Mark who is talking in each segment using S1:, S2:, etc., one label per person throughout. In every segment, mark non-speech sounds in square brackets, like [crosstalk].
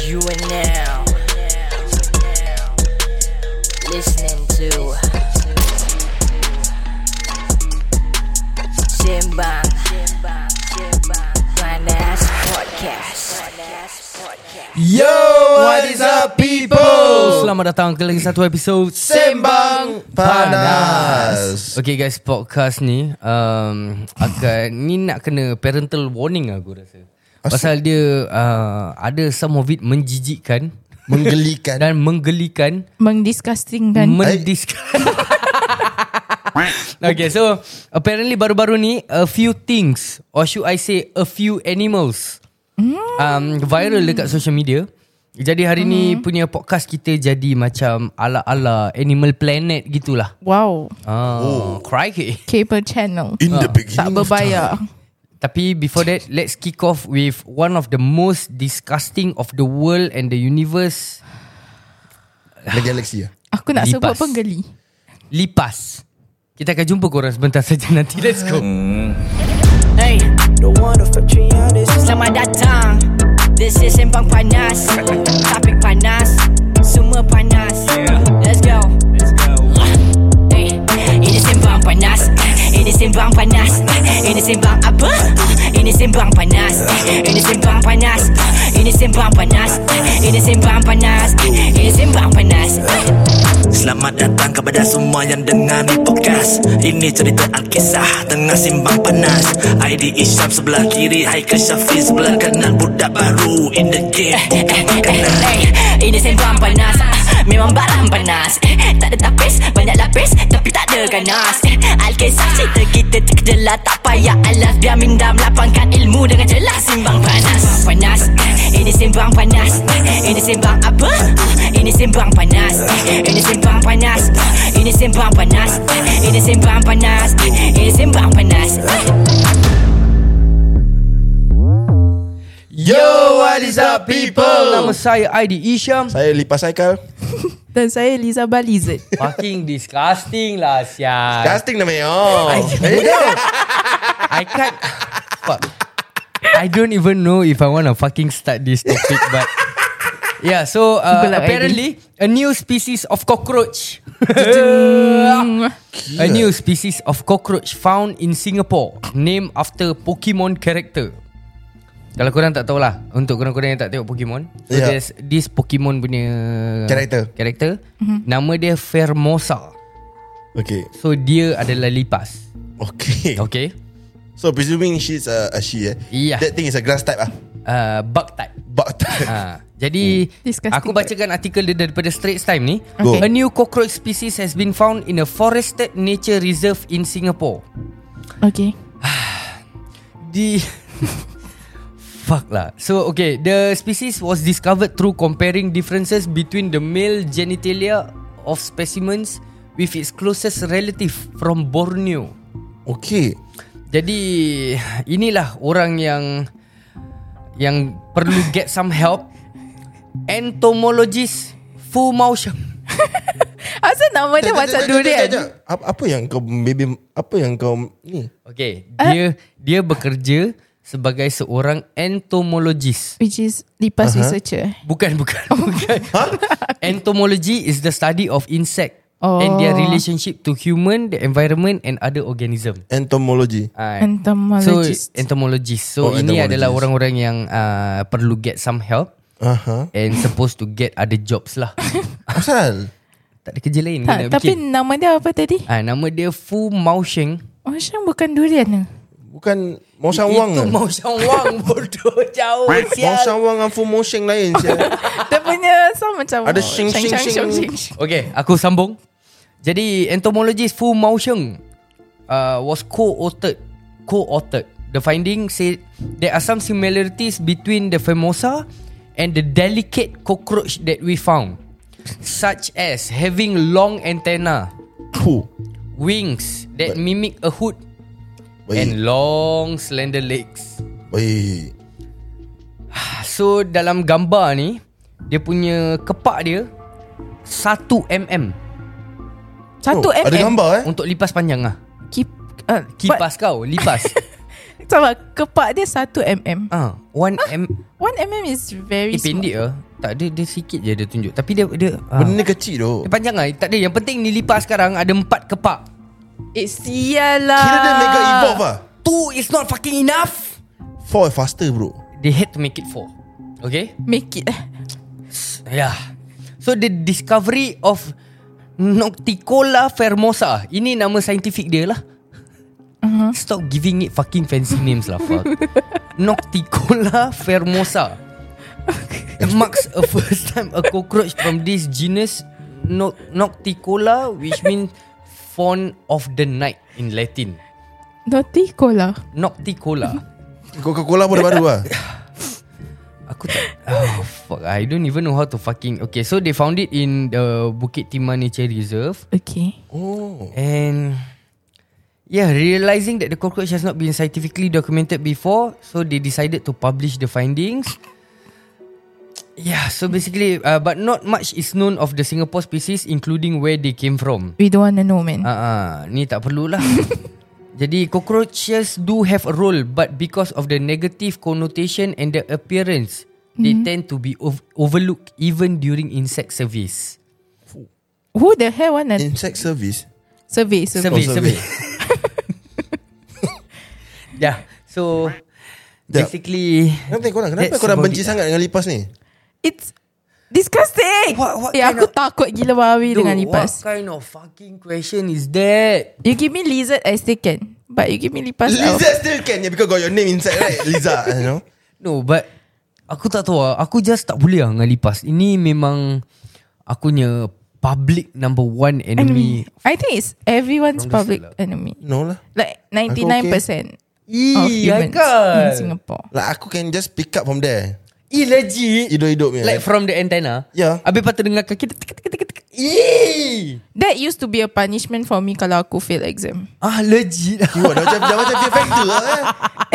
S1: You are now listening to Simbang Finance Podcast.
S2: Yo, what is up people?
S3: Selamat datang ke lagi satu episod
S2: Sembang Panas.
S3: Okay guys, podcast ni um, akan [coughs] ni nak kena parental warning aku rasa. Pasal dia uh, ada some of it menjijikkan
S2: Menggelikan.
S3: dan menggelikan, Kan?
S4: Mengdisgustingkan
S3: Mm. mendiskan. [laughs] okay, so apparently baru-baru ni a few things or should I say a few animals um, viral dekat social media. Jadi hari ni punya podcast kita jadi macam ala-ala Animal Planet gitulah.
S4: Wow
S3: Oh, crikey.
S4: Cable channel
S2: In
S3: Ah,
S2: the
S4: Tak
S2: beginning.
S4: berbayar
S3: Tapi before that, let's kick off with one of the most disgusting of the world and the universe,
S2: The galaxy ya.
S4: Aku nak sebut
S3: Lipas.
S4: pun geli
S3: lipas. Kita akan jumpa korang sebentar saja nanti. Let's go.
S1: Hey, selamat datang. This is Sembang Panas. Topik panas, semua panas. Let's go. Hey, ini Sembang Panas. Ini Sembang Panas. Ini Sembang apa? Ini Sembang Panas. Ini Sembang Panas. Ini Sembang Panas. Ini Sembang Panas. Ini Sembang Panas.
S5: Selamat datang kepada semua yang dengar ni podcast Ini cerita Alkisah tengah simbang panas ID Isyam sebelah kiri Haikal Syafiq sebelah kanan Budak baru in the game bukan makanan
S1: Eh, Ini sembang panas Ah, Memang barang panas Eh, Tak ada tapis Banyak lapis Tapi tak ada ganas Eh, Alkisah cerita kita terkejelah Tak payah alas Biar minda melapangkan ilmu Dengan jelas Simbang panas Sembang panas Eh, Ini sembang panas Eh, Ini sembang apa? Ah, Ini sembang panas Eh, Ini sembang panas Ah, Ini sembang panas Eh, Ini sembang panas Eh, Ini sembang panas Eh.
S2: Yo, what is up
S3: Nama
S2: people?
S3: saya Aidi Isham.
S2: Saya Lipas Haikal.
S4: Dan saya Liza Balizet
S3: Fucking disgusting lah sial.
S2: Casting namanya. Oh. Eh,
S3: I can't fuck. I don't even know if I want to fucking start this topic but Yeah, so uh,
S4: Good luck,
S3: apparently a new species of
S2: [laughs]
S3: cockroach. [laughs] Ah,
S4: Mm.
S3: a new species of cockroach found in Singapore named after Pokemon character. Kalau korang tak tahulah Untuk korang-korang yang tak tengok Pokemon so
S2: Yeah.
S3: yeah. there's This Pokemon punya
S2: Ya. Character.
S3: Character mm-hmm. Nama dia Fermosa
S2: Okay.
S3: So dia adalah lipas
S2: Okay.
S3: Okay
S2: So presuming she's a, a she eh.
S3: Yeah.
S2: That thing is a grass type ah.
S3: uh, Bug type
S2: But
S3: Ha, jadi
S4: Disgusting.
S3: aku bacakan artikel dia daripada Straits Time ni.
S2: Hmm. Go.
S3: A new cockroach species has been found in a forested nature reserve in Singapore.
S4: Okay
S3: The [laughs] Fuck lah. So okay, the species was discovered through comparing differences between the male genitalia of specimens with its closest relative from Borneo.
S2: okay.
S3: Jadi inilah orang yang yang perlu [laughs] get some help. Entomologist Fu Maosheng.
S4: Asal nama dia
S2: Jap, jap,
S4: macam
S2: jap, jap,
S4: durian
S2: jap, jap. Apa apa yang kau baby apa yang kau ni?
S3: Okay, dia dia bekerja sebagai seorang entomologist.
S4: Which is Lipas researcher
S3: Bukan bukan
S4: Oh.
S3: bukan.
S4: [laughs]
S3: Entomology is the study of insect
S4: Oh.
S3: and their relationship to human, the environment and other organism.
S2: Entomology.
S3: Ah, So
S4: Entomologist
S3: entomologist. So
S2: Oh,
S3: ini
S2: entomologist.
S3: adalah orang-orang yang uh, perlu get some help
S2: Aha.
S3: and supposed to get other jobs
S4: [laughs]
S3: lah.
S2: Asal?
S3: tak ada kerja lain
S4: tak,
S3: kena
S4: Tapi
S3: bikin.
S4: nama dia apa tadi?
S3: Ah, nama dia Fu Maosheng.
S4: Ocean bukan durian lah. ke?
S2: Bukan Mau Sang Wang. ke?
S3: Itu Maosheng Wang [laughs] bodoh jauh
S2: Mau
S3: sial.
S2: Sang Wang dengan Fu Mo Sheng lain
S3: [laughs]
S2: sial.
S4: Dia punya sound macam
S2: Ada shing, shing, shing.
S3: Okay, aku sambung. Jadi entomologist Fu Maosheng uh, was co-authored co-authored. The finding said there are some similarities between the Formosa and the delicate cockroach that we found, such as having long antenna,
S2: Puh.
S3: wings that mimic a hood,
S2: Baik.
S3: and long slender legs.
S2: Baik.
S3: So dalam gambar ni, dia punya kepak dia 1 mm
S4: Satu
S2: Oh, ada
S4: mm
S2: gambar eh?
S3: untuk lipas panjang lah.
S4: Kip, uh,
S3: Kipas kau Lipas
S4: but- Sama Kepak dia satu mm
S3: Ah, One M
S4: One mm is very
S3: Eh
S4: small
S3: pendek ke Tak dia, dia sikit je dia tunjuk Tapi dia dia, ah.
S2: Benda kecil tu
S3: dia panjang lah Tak ada Yang penting ni lipas sekarang Ada empat kepak
S4: Eh sial lah
S2: Kira dia mega evolve lah
S3: Two is not fucking enough
S2: Four is faster bro
S3: They had to make it four Okay
S4: Make it
S3: Yeah Ya. So the discovery of Nocticola fermosa Ini nama saintifik dia lah uh-huh. Stop giving it fucking fancy names lah fuck Nocticola fermosa It marks a first time a cockroach from this genus no- Nocticola Which means fawn of the night in Latin
S4: Naughty cola
S3: Nocticola
S2: Coca-Cola pun dah baru
S4: [laughs]
S2: lah
S3: Aku tak oh, Fuck I don't even know how to fucking Okay so they found it in the Bukit Timah Nature Reserve
S4: Okay
S2: Oh
S3: And Yeah realizing that the cockroach has not been scientifically documented before So they decided to publish the findings Yeah so basically uh, But not much is known of the Singapore species Including where they came from
S4: We don't wanna know man
S3: Ah, ah, ni tak perlulah. Jadi cockroaches do have a role but because of the negative connotation and the appearance, they tend to be ov- overlooked even during insect surveys.
S4: Who the hell wanna
S2: Insect service
S4: survey
S3: Survey,
S4: survey
S2: Oh,
S3: survey.
S2: survey.
S3: [laughs] yeah. So
S2: Jap.
S3: basically
S2: Kenapa korang Kenapa
S3: that's
S2: korang
S3: about
S2: benci
S3: it lah.
S2: sangat dengan lipas ni
S4: It's disgusting
S3: What- what
S4: Eh
S3: kind
S4: aku
S3: of-
S4: takut gila babi
S3: Dude,
S4: dengan lipas
S3: What kind of fucking question is that?
S4: You give me lizard I still can But you give me lipas I will-
S2: Lizard still can yeah, Because got your name inside right Liza you know
S3: No but Aku tak tahu lah Aku just tak boleh lah Dengan lipas Ini memang Aku punya Public number one enemy
S4: I think it's everyone's
S3: Longest
S4: public
S3: lah.
S4: enemy
S2: No lah
S4: Like 99% of
S3: Ih, ya
S4: humans in
S3: Haikal
S4: Singapore
S2: Like aku can just pick up from there
S3: Ih, legit
S2: Hidup-hidup punya
S3: Like from the antenna
S2: Yeah.
S3: Habis patut dengar kaki tek, tek, tek, tek, tek. Ih
S4: That used to be a punishment for me Kalau aku fail exam
S3: Ah legit
S2: Wah, dah macam, dah macam fear factor lah eh.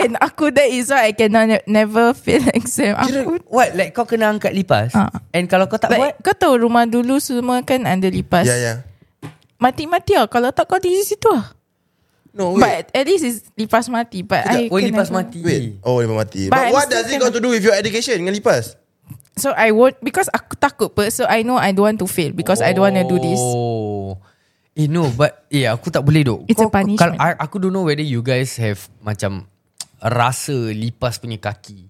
S4: And aku that is why I cannot never fail [laughs] exam Aku
S3: What like kau kena angkat lipas
S4: Ah.
S3: And kalau kau tak buat
S4: like, Kau tahu rumah dulu semua kan Under lipas
S2: Ya, ya
S4: Mati-mati lah Kalau tak kau di situ lah
S2: No, wait
S4: But at least it's lipas mati But I
S3: Sekejap Oh
S4: can
S3: lipas
S4: never-
S3: mati
S2: Wait Oh dia mati
S4: But
S2: But,
S4: I'm
S2: what
S4: still
S2: does it
S4: kinda-
S2: got to do With your education Dengan lipas
S4: So I won't Because aku takut per So I know I don't want to fail Because I don't want to do this
S3: Oh Eh no but Eh aku tak boleh dok
S4: It's a
S3: kalau-
S4: punishment.
S3: I- Aku don't know whether you guys have Macam Rasa lipas punya kaki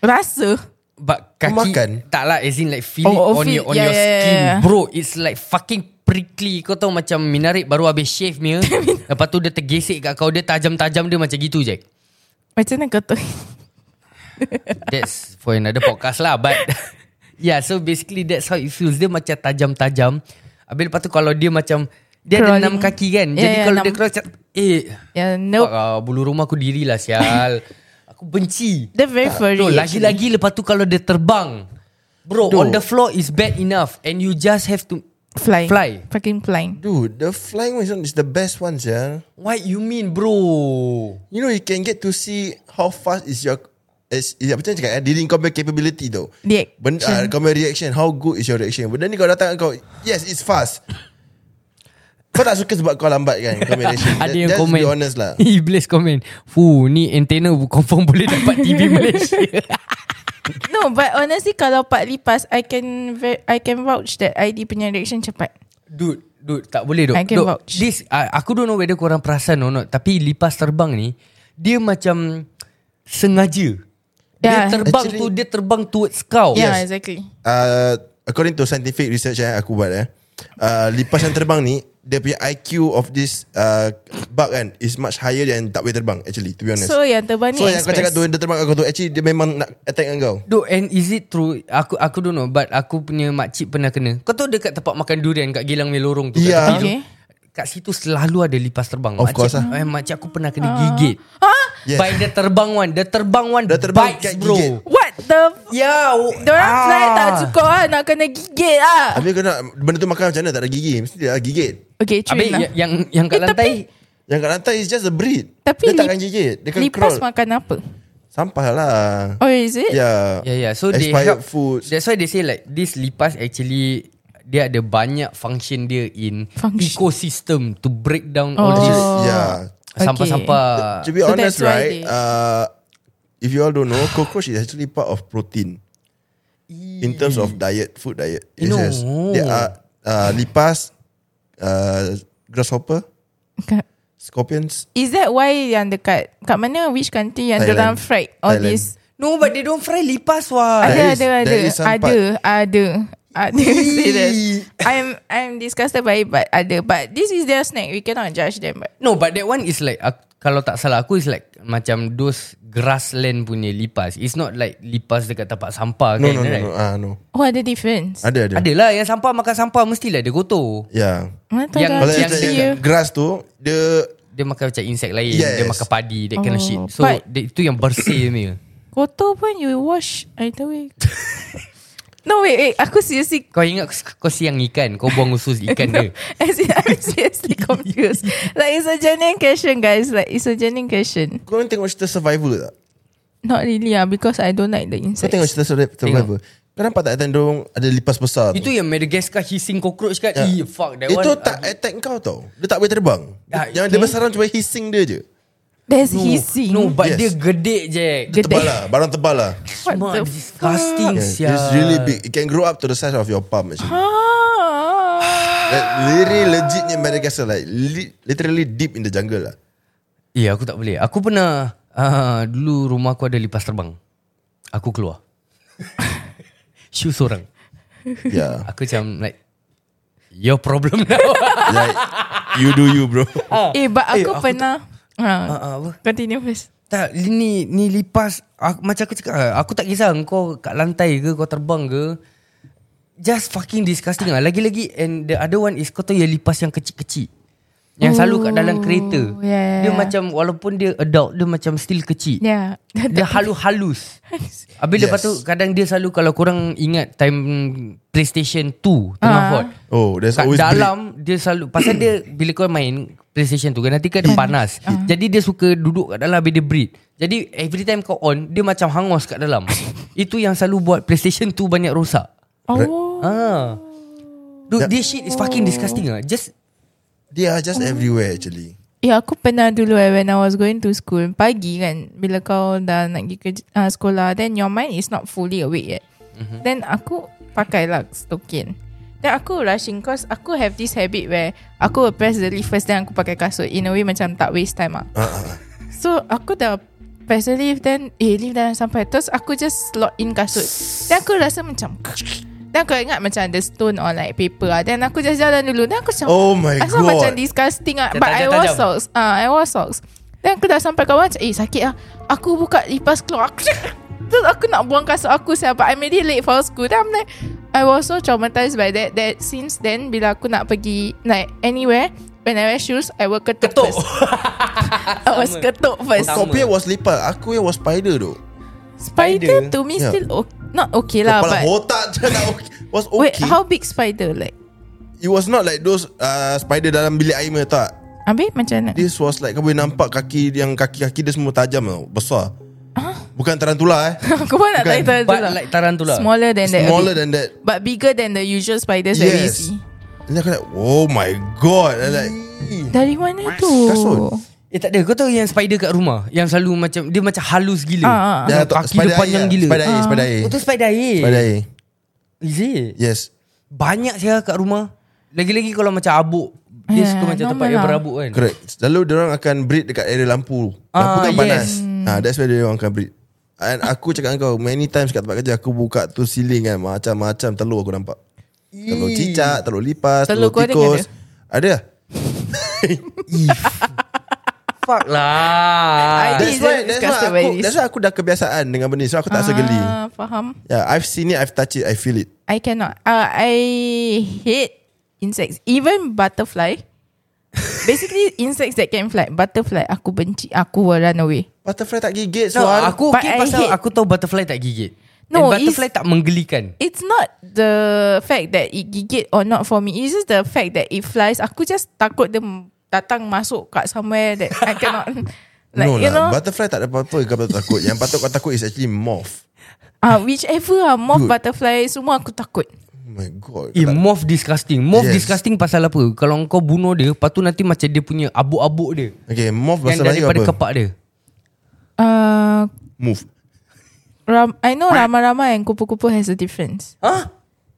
S4: Rasa
S3: But kaki
S2: makan?
S3: Tak lah as in like Feel it
S4: Oh, oh,
S3: on,
S4: feel-
S3: your, on
S4: yeah,
S3: your
S4: yeah, yeah,
S3: skin
S4: yeah.
S3: Bro It's like fucking prickly Kau tahu macam Minarik baru habis shave
S4: [laughs]
S3: ni Lepas tu dia tergesek kat kau Dia tajam-tajam dia macam gitu je
S4: Macam mana kau tahu [laughs]
S3: That's for another podcast lah But [laughs] Yeah so basically That's how it feels Dia macam tajam-tajam Habis lepas tu Kalau dia macam Dia
S4: Crawling.
S3: ada enam kaki kan yeah,
S4: Yeah,
S3: Jadi
S4: yeah,
S3: yeah, kalau
S4: enam.
S3: dia keluar macam Eh
S4: Yeah,
S3: nope.
S4: nope.
S3: uh, Bulu rumah aku diri lah [laughs] sial Aku benci
S4: They're very furry.
S3: Bro
S4: actually.
S3: lagi-lagi Lepas tu kalau dia terbang Bro
S2: Dude.
S3: on the floor is bad enough And you just have to
S4: flying.
S3: Fly.
S4: Fucking flying.
S2: Dude The flying one is is the best one yeah.
S3: What you mean bro
S2: You know you can get to see How fast is your is, is, Apa macam cakap eh? Diri kau punya capability tau
S4: Reaction.
S2: Benda, uh, kau punya reaction How good is your reaction Benda ni kau datang kau Yes it's fast Kau tak suka sebab kau lambat kan Kau
S4: [laughs]
S2: punya reaction
S3: [laughs] Ada yang
S2: Just
S3: komen
S2: be honest lah
S3: [laughs] Iblis komen Fuh ni antenna [laughs] Confirm boleh dapat [laughs] TV Malaysia
S4: No, but honestly, kalau Pak Lipas, I can ve- I can vouch that ID punya reaction cepat.
S3: Dude, dude tak boleh dok.
S4: I can
S3: Dok,
S4: vouch.
S3: This uh, aku don't know whether korang perasan or not, tapi lipas terbang ni dia macam sengaja. Yeah.
S4: Yeah.
S3: Dia terbang
S2: Actually-
S3: Actually, tu dia terbang towards kau.
S4: Yeah, exactly.
S2: uh, According to scientific research yang aku buat eh uh, Lipas yang terbang ni Dia punya IQ of this uh, Bug kan Is much higher than tak boleh terbang Actually to be honest
S4: So yang terbang ni
S2: So yang kau cakap
S4: express.
S2: tu Dia terbang kat kau tu Actually dia memang nak attack dengan kau
S3: Dude, and is it true? Aku aku don't know, but aku punya makcik pernah kena. Kau tahu dekat tempat makan durian kat Gilang punya lorong tu. kat
S2: Yeah.
S3: tepi tu?
S4: Okay.
S3: Kat situ selalu ada lipas terbang.
S2: Of course lah.
S3: lah. Eh, makcik aku pernah
S4: Ah.
S3: kena gigit.
S2: Yes.
S3: By the terbang one. The terbang one
S2: Dia terbang
S3: bites
S2: kat
S3: bro. Ya, oh. Ah.
S2: gigit.
S4: What the? F-
S3: Yeah. w-
S4: Diorang fly tak cukup lah. Nak kena gigit lah.
S2: Habis kau nak Benda tu makan macam mana Tak ada gigi Mesti dia gigit
S4: Okay, true
S3: Habis ya-
S4: lah.
S3: yang, yang, yang kat
S4: Eh, tapi-
S3: lantai.
S2: Yang kat lantai is just a breed
S4: Tapi
S2: Dia takkan
S4: lip-
S2: gigit Dia kan
S4: Lipas
S2: crawl Ya.
S4: makan apa?
S2: Sampah lah
S4: Oh, is it?
S2: Yeah
S3: Yeah, yeah. So they
S2: Expired
S3: help
S2: food
S3: That's why they say like this lipas actually dia ada banyak function dia in
S4: Function.
S3: ecosystem to break down all
S4: Oh.
S3: this
S2: Yeah
S4: Okay.
S3: sampah-sampah.
S2: To be
S4: So
S2: honest
S4: that's why
S2: right
S4: they-
S2: uh, If you all don't know Cockroach is actually part of protein in terms of diet, food diet. It
S3: No.
S2: has there are uh, lipas, uh, grasshopper, scorpions.
S4: Is that why yang dekat Kat mana Which country Yang
S2: Thailand.
S4: dalam fried All
S2: Thailand.
S4: this
S3: No, but they don't fry lipas what.
S2: There
S4: Ada
S2: is-
S4: ada ada
S2: there is some
S4: Ada Ada Ada [laughs] serious I'm I'm disgusted by it But ada But this is their snack We cannot judge them But
S3: No, but that one is like aku, kalau tak salah aku is like macam those grassland punya lipas. It's not like lipas dekat tapak sampah
S2: No,
S3: kan,
S2: no, no,
S3: right?
S2: no. Ah, no.
S4: Oh ada difference
S2: Ada, ada.
S3: Adalah yang sampah makan sampah mestilah dia kotor.
S2: Yeah.
S4: Mana tahu
S3: Yang-
S4: dah
S2: Kalau
S3: yang-
S4: cuci
S2: yang,
S4: you.
S2: yang grass tu, dia
S3: Dia makan macam insect lain,
S2: Yes.
S3: dia makan padi, that kind of
S4: Oh,
S3: shit. So
S4: but-
S3: that, itu yang bersih punya.
S4: Kotor pun you wash Either
S2: [laughs]
S4: way No wait wait Aku seriously
S3: Kau ingat kau siang ikan, kau buang usus ikan
S4: [laughs] no,
S3: dia.
S4: As in I'm seriously confused Like it's a genuine question guys Like it's a genuine question
S2: Kau orang tengok cerita Survivor tak?
S4: Not really ah Because I don't like the
S2: Kau
S4: insects
S2: tengok cerita Survivor Survivor. Kau nampak tak Ada orang ada lipas besar
S3: [laughs] Itu
S2: tu?
S3: yang Madagascar hissing cockroach kan.
S2: Ya.
S3: Yeah. fuck that one. uh,
S2: Itu tak attack kau tau Dia tak boleh terbang
S3: Ah,
S2: Yang dia
S3: okay.
S2: besar orang cuma hissing dia je
S4: There's
S3: No,
S4: hissing
S3: No, but
S2: Yes.
S3: yes. dia gede je.
S4: Gede.
S2: Tebal lah Barang tebal lah
S4: What
S3: Semua
S4: the
S3: disgusting
S2: yeah,
S3: sia.
S2: It's really big It can grow up to the size of your palm
S3: Ha.
S2: actually
S4: Ah.
S2: Like literally legitnya Madagascar Like li- literally deep in the jungle
S3: [laughs]
S2: lah
S3: Ya, aku tak boleh. Aku pernah uh, dulu rumah aku ada lipas terbang. Aku [laughs] keluar. Shoes orang.
S2: Yeah
S3: Aku macam like your problem now.
S2: Like You do you
S3: [laughs]
S2: bro
S4: Eh but
S3: Eh,
S4: aku
S3: aku
S4: pernah ha,
S3: uh, apa?
S4: Continue first
S3: Tak, ni ni lipas aku, macam aku cakap ah, aku tak kisah kau kat lantai ke kau terbang ke. Just fucking disgusting lah. Lagi-lagi and the other one is kau tahu yang lipas yang kecil-kecil. Yang selalu kat dalam kereta.
S4: yeah,
S3: Dia
S4: yeah.
S3: macam walaupun dia adult dia macam still kecil.
S4: Ya yeah. [laughs]
S3: Dia halu-halus Habis yes. lepas
S2: Yes.
S3: tu Kadang dia selalu Kalau korang ingat Time PlayStation 2 Tengah
S4: Ah.
S3: hot
S2: Oh there's
S3: Kat
S2: always break.
S3: dalam Dia selalu Pasal dia Bila kau main PlayStation tu kan Nanti kan
S4: Hmm.
S3: dia panas
S4: Ah.
S3: Jadi dia suka duduk kat dalam Habis dia breathe Jadi every time kau on Dia macam hangus kat
S4: [laughs]
S3: dalam Itu yang selalu buat PlayStation 2 banyak rosak
S4: Oh
S3: ah. Dude, this shit is fucking disgusting ah. Just
S2: They are just everywhere actually
S4: Ya aku pernah dulu eh, When I was going to school Pagi kan Bila kau dah nak pergi kerja, uh, sekolah Then your mind is not fully awake yet mm-hmm. Then aku Pakai lah stokin Then aku rushing Cause aku have this habit where Aku will press the leaf first Then aku pakai kasut In a way macam tak waste time ah. So aku dah Press the leaf Then Eh leaf dah sampai Terus aku just slot in kasut Then aku rasa macam Then aku ingat macam Ada stone or like paper ah. Then aku just jalan dulu Then aku macam
S2: Oh my god
S4: Asal macam disgusting ah.
S3: Dia
S4: But I
S3: tajam,
S4: wore
S3: tajam.
S4: socks Ah, I wore socks Then aku dah sampai kawan macam, Eh sakit lah Aku buka lipas keluar [laughs] Aku cakap, Terus aku nak buang kasut aku saya, But I'm really late for school Then I'm like I was so traumatized by that That since then Bila aku nak pergi Like anywhere When I wear shoes I will ketuk,
S3: Ketuk. [laughs]
S4: first I was ketuk first
S2: Kau punya was lipas Aku yang was spider tu
S4: Spider to me
S2: Yeah.
S4: still okay, Not okay lah
S2: Kepala
S4: But
S2: otak je nak okay. [laughs] Was okay
S4: Wait how big spider like
S2: It was not like those uh, Spider dalam bilik air punya, tak
S4: Habis macam mana
S2: This was like Kau boleh nampak kaki Yang kaki-kaki dia semua tajam tau Besar Bukan tarantula eh
S4: [laughs] Aku pun nak
S2: Bukan.
S4: tanya tu
S3: But
S4: lah
S3: like tarantula.
S4: Smaller [laughs] than that a
S2: Smaller
S4: bit.
S2: than that
S4: But bigger than the usual spiders that we
S2: Yes
S4: see
S2: And then aku like Oh my god And like
S4: Dari mana tu?
S2: Kasut.
S3: Eh tak ada Kau tahu yang spider kat rumah Yang selalu macam Dia macam halus gila
S4: Ah, ah, ah.
S2: Dah
S3: Yang
S2: tak-
S3: Kaki dia
S2: air
S3: panjang
S2: lah.
S3: gila
S2: Spider air Spider air
S3: Oh tu spider air
S2: Spider air
S3: Is it?
S2: Yes
S3: Banyak saya kat rumah Lagi-lagi kalau macam abuk Dia
S4: Yeah,
S3: suka macam tempat
S4: normal
S3: yang
S4: lah.
S3: berabuk kan
S2: Correct Selalu orang akan breed Dekat area lampu Lampu
S3: Ah,
S2: kan
S3: yes.
S2: panas ah, That's where orang akan breed And aku cakap dengan kau Many times kat tempat kerja Aku buka tu ceiling kan Macam-macam telur aku nampak Telur cicak Telur lipas Telur,
S4: Telur goreng
S2: tikus Ada
S3: Fuck lah
S4: Idea.
S2: That's
S4: He's
S2: why
S4: very
S2: That's why
S4: disgusted by
S2: aku
S4: this.
S2: That's why aku dah kebiasaan Dengan benda ni So aku tak rasa geli
S4: Ah, faham.
S2: Yeah, I've seen it I've touched it I feel it
S4: I cannot. Uh, I hate insects. Even
S2: [laughs]
S4: butterfly. Basically insects that can fly. Butterfly aku benci. Aku will run away.
S2: Butterfly tak gigit
S3: No
S2: Suar
S3: aku
S4: But
S3: okay
S4: I
S3: pasal
S4: hate-
S3: Aku tahu butterfly tak gigit
S4: No,
S3: And butterfly tak menggelikan
S4: It's not the fact that it gigit or not for me. It's just the fact that it flies. Aku just takut dia datang masuk kat somewhere that I
S2: [laughs]
S4: cannot. like,
S2: no
S4: you
S2: lah,
S4: know.
S2: butterfly tak ada apa-apa yang kau patut takut. Yang patut kau takut is actually moth.
S4: Ah, whichever ah, moth
S2: Dude.
S4: butterfly semua aku takut.
S2: Oh my god.
S3: Eh moth disgusting Moth
S2: Yes.
S3: disgusting pasal apa Kalau kau bunuh dia Lepas tu nanti macam dia punya Abuk-abuk dia Kan
S2: Okay, moth
S3: Yang
S2: bahasa Melayu
S3: daripada
S4: Ah,
S2: apa?
S3: kepak dia
S4: Uh,
S2: Move.
S4: Ram, I know Rama Rama and Kupu Kupu has a difference.
S3: Huh?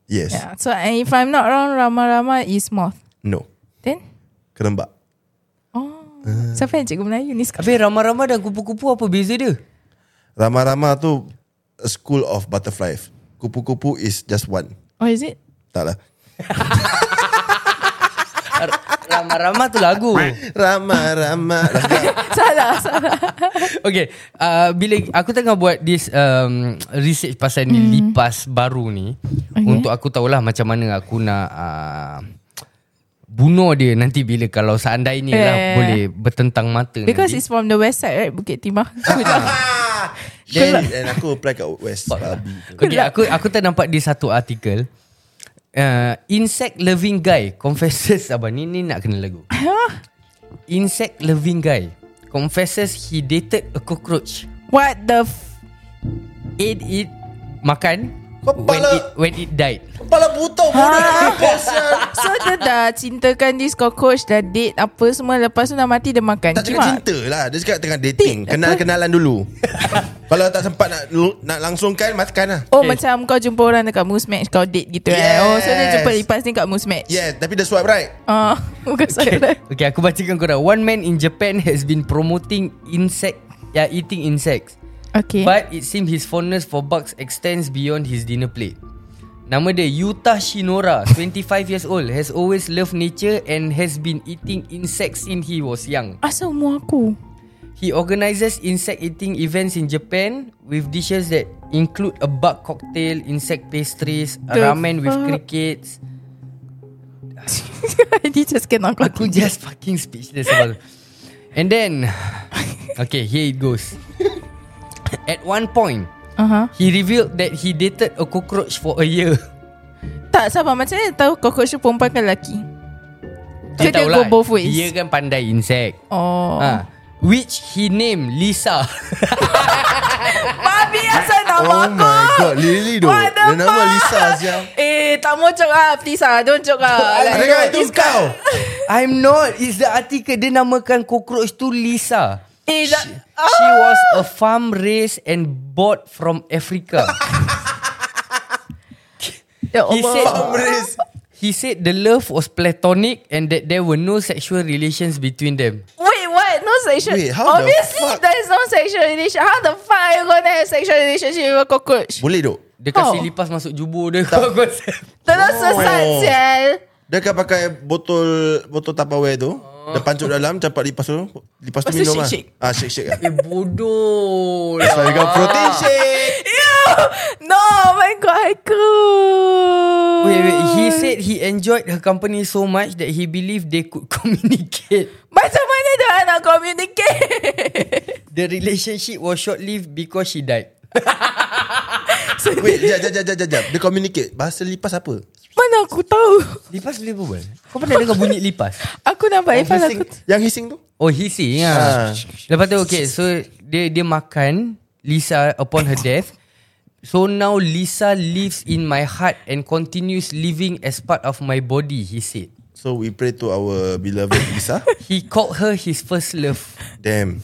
S2: Yes. Yeah.
S4: Yeah. So and if I'm not wrong, Rama Rama is moth.
S2: No.
S4: Then Oh.
S2: Kerembak. Uh.
S4: siapa yang cikgu Melayu ni sekarang?
S3: Habis rama-rama dan kupu-kupu apa beza
S4: [laughs]
S3: dia?
S2: Rama-rama tu a school of butterfly. Kupu-kupu is just one.
S4: Oh is it?
S2: Tak lah.
S3: Rama-rama tu lagu.
S4: [laughs]
S2: Rama-rama.
S4: salah salah.
S3: Okay, uh, bila aku tengah buat this um, research pasal ni lipas baru ni okay.
S4: Hmm. Okay.
S3: untuk aku tahulah macam mana aku nak uh, bunuh dia nanti bila kalau seandainya lah
S4: Yeah.
S3: boleh bertentang mata
S4: Because
S3: nanti.
S4: it's from the west side right, Bukit
S2: [laughs]
S4: Timah. [laughs]
S2: Then, and aku apply kat West.
S4: lah.
S2: Babi.
S3: Okay, aku aku ternampak di satu artikel uh, insect loving guy [laughs] confesses apa ni ni nak kena lagu. insect loving guy confesses he dated a cockroach.
S4: What the f-
S3: ate it makan
S2: Kepala-
S3: when it when it died.
S2: Kepala buta Ha. bodoh.
S4: So dia dah cintakan this cockroach Dah date apa semua Lepas tu dah mati dia makan
S2: Tak cakap
S4: Cuma-
S2: cinta lah Dia cakap tengah dating Kenal-kenalan
S4: [laughs]
S2: dulu Kalau tak sempat nak nak langsungkan Makan lah
S4: Oh
S3: Okay.
S4: okay. macam kau jumpa orang dekat Moose Match Kau date gitu
S2: Yes.
S4: yes. eh Oh so dia jumpa lipas ni kat Moose Match
S2: Yeah Tapi dia swipe right
S4: Ah, [laughs] Bukan saya lah
S3: Okay, aku bacakan korang. One man in Japan has been promoting insect, yeah, eating insects.
S4: Okay
S3: But it seems his fondness for bugs extends beyond his dinner plate. Nama dia Yuta
S4: [laughs]
S3: Shinora, 25 years old, has always loved nature and has been eating insects since he was young.
S4: Asal umur aku [laughs]
S3: He organizes insect eating events in Japan with dishes that include a bug cocktail, insect pastries, a
S4: The
S3: ramen with
S4: fuck?
S3: crickets,
S4: Dia just cannot kau
S3: Aku just fucking speechless about And then Okay here it goes At one point
S4: uh-huh.
S3: He revealed that he dated a cockroach for a year
S4: Tak sabar Macam mana tahu cockroach tu perempuan ke lelaki So dia go
S3: tahulah,
S4: both ways
S3: Dia kan pandai insect
S4: Oh
S2: Ah.
S3: ha, Which he named Lisa
S4: Babi asal nama
S2: Oh
S4: aku
S2: my god Lily tu
S4: What the
S2: Dia nama
S4: fuck?
S2: Lisa siang
S4: Eh tak mau joke ah Please ah Don't joke ah
S2: Ada
S4: Like,
S2: kan itu kau
S3: [laughs] I'm not It's the article Dia namakan cockroach tu Lisa
S4: Eh tak
S3: She was a farm raised and bought from Africa
S4: Ya
S3: He said
S4: Allah
S2: Amris
S3: He said the love was platonic and that there were no sexual relations between them.
S4: Wait, what? No sexual.
S2: Wait, how the
S4: Obviously,
S2: fuck-
S4: there is no sexual relationship. How the fuck are you gonna have sexual relationship with a cockroach?
S2: Boleh tu
S3: Dia kasi
S4: How?
S3: lipas masuk jubur dia kau konsep.
S4: Terus sesat, sial.
S2: Dia akan pakai botol Botol Tupperware tu Dia pancut dalam Campak lipas tu Lipas tu
S4: Oh. Lepas tu
S2: minum lah
S4: shake-shake.
S2: Ah shake-shake lah
S3: [laughs] Eh bodoh.
S2: So you got protein shake
S4: No, oh my god, I could.
S3: Wait, wait. He said he enjoyed her company so much that he believed they could [laughs] communicate.
S4: Macam mana dia orang nak communicate? [laughs]
S3: The relationship was short-lived because she died.
S2: Wait jap jap jap jap, jap jap Dia communicate Bahasa lipas apa
S4: Mana aku tahu?
S3: Lipas boleh berbual? Kau pernah dengar bunyi lipas?
S4: Aku nampak
S3: Eh,
S4: Ifan aku.
S2: Hising Yang hising tu
S3: Oh, he see.
S2: Ah.
S3: Ya. Lepas tu, okay. So, dia dia makan Lisa upon her death. So now Lisa lives in my heart and continues living as part of my body, he said.
S2: So we pray to our beloved Lisa
S3: He called her his first love.
S2: Damn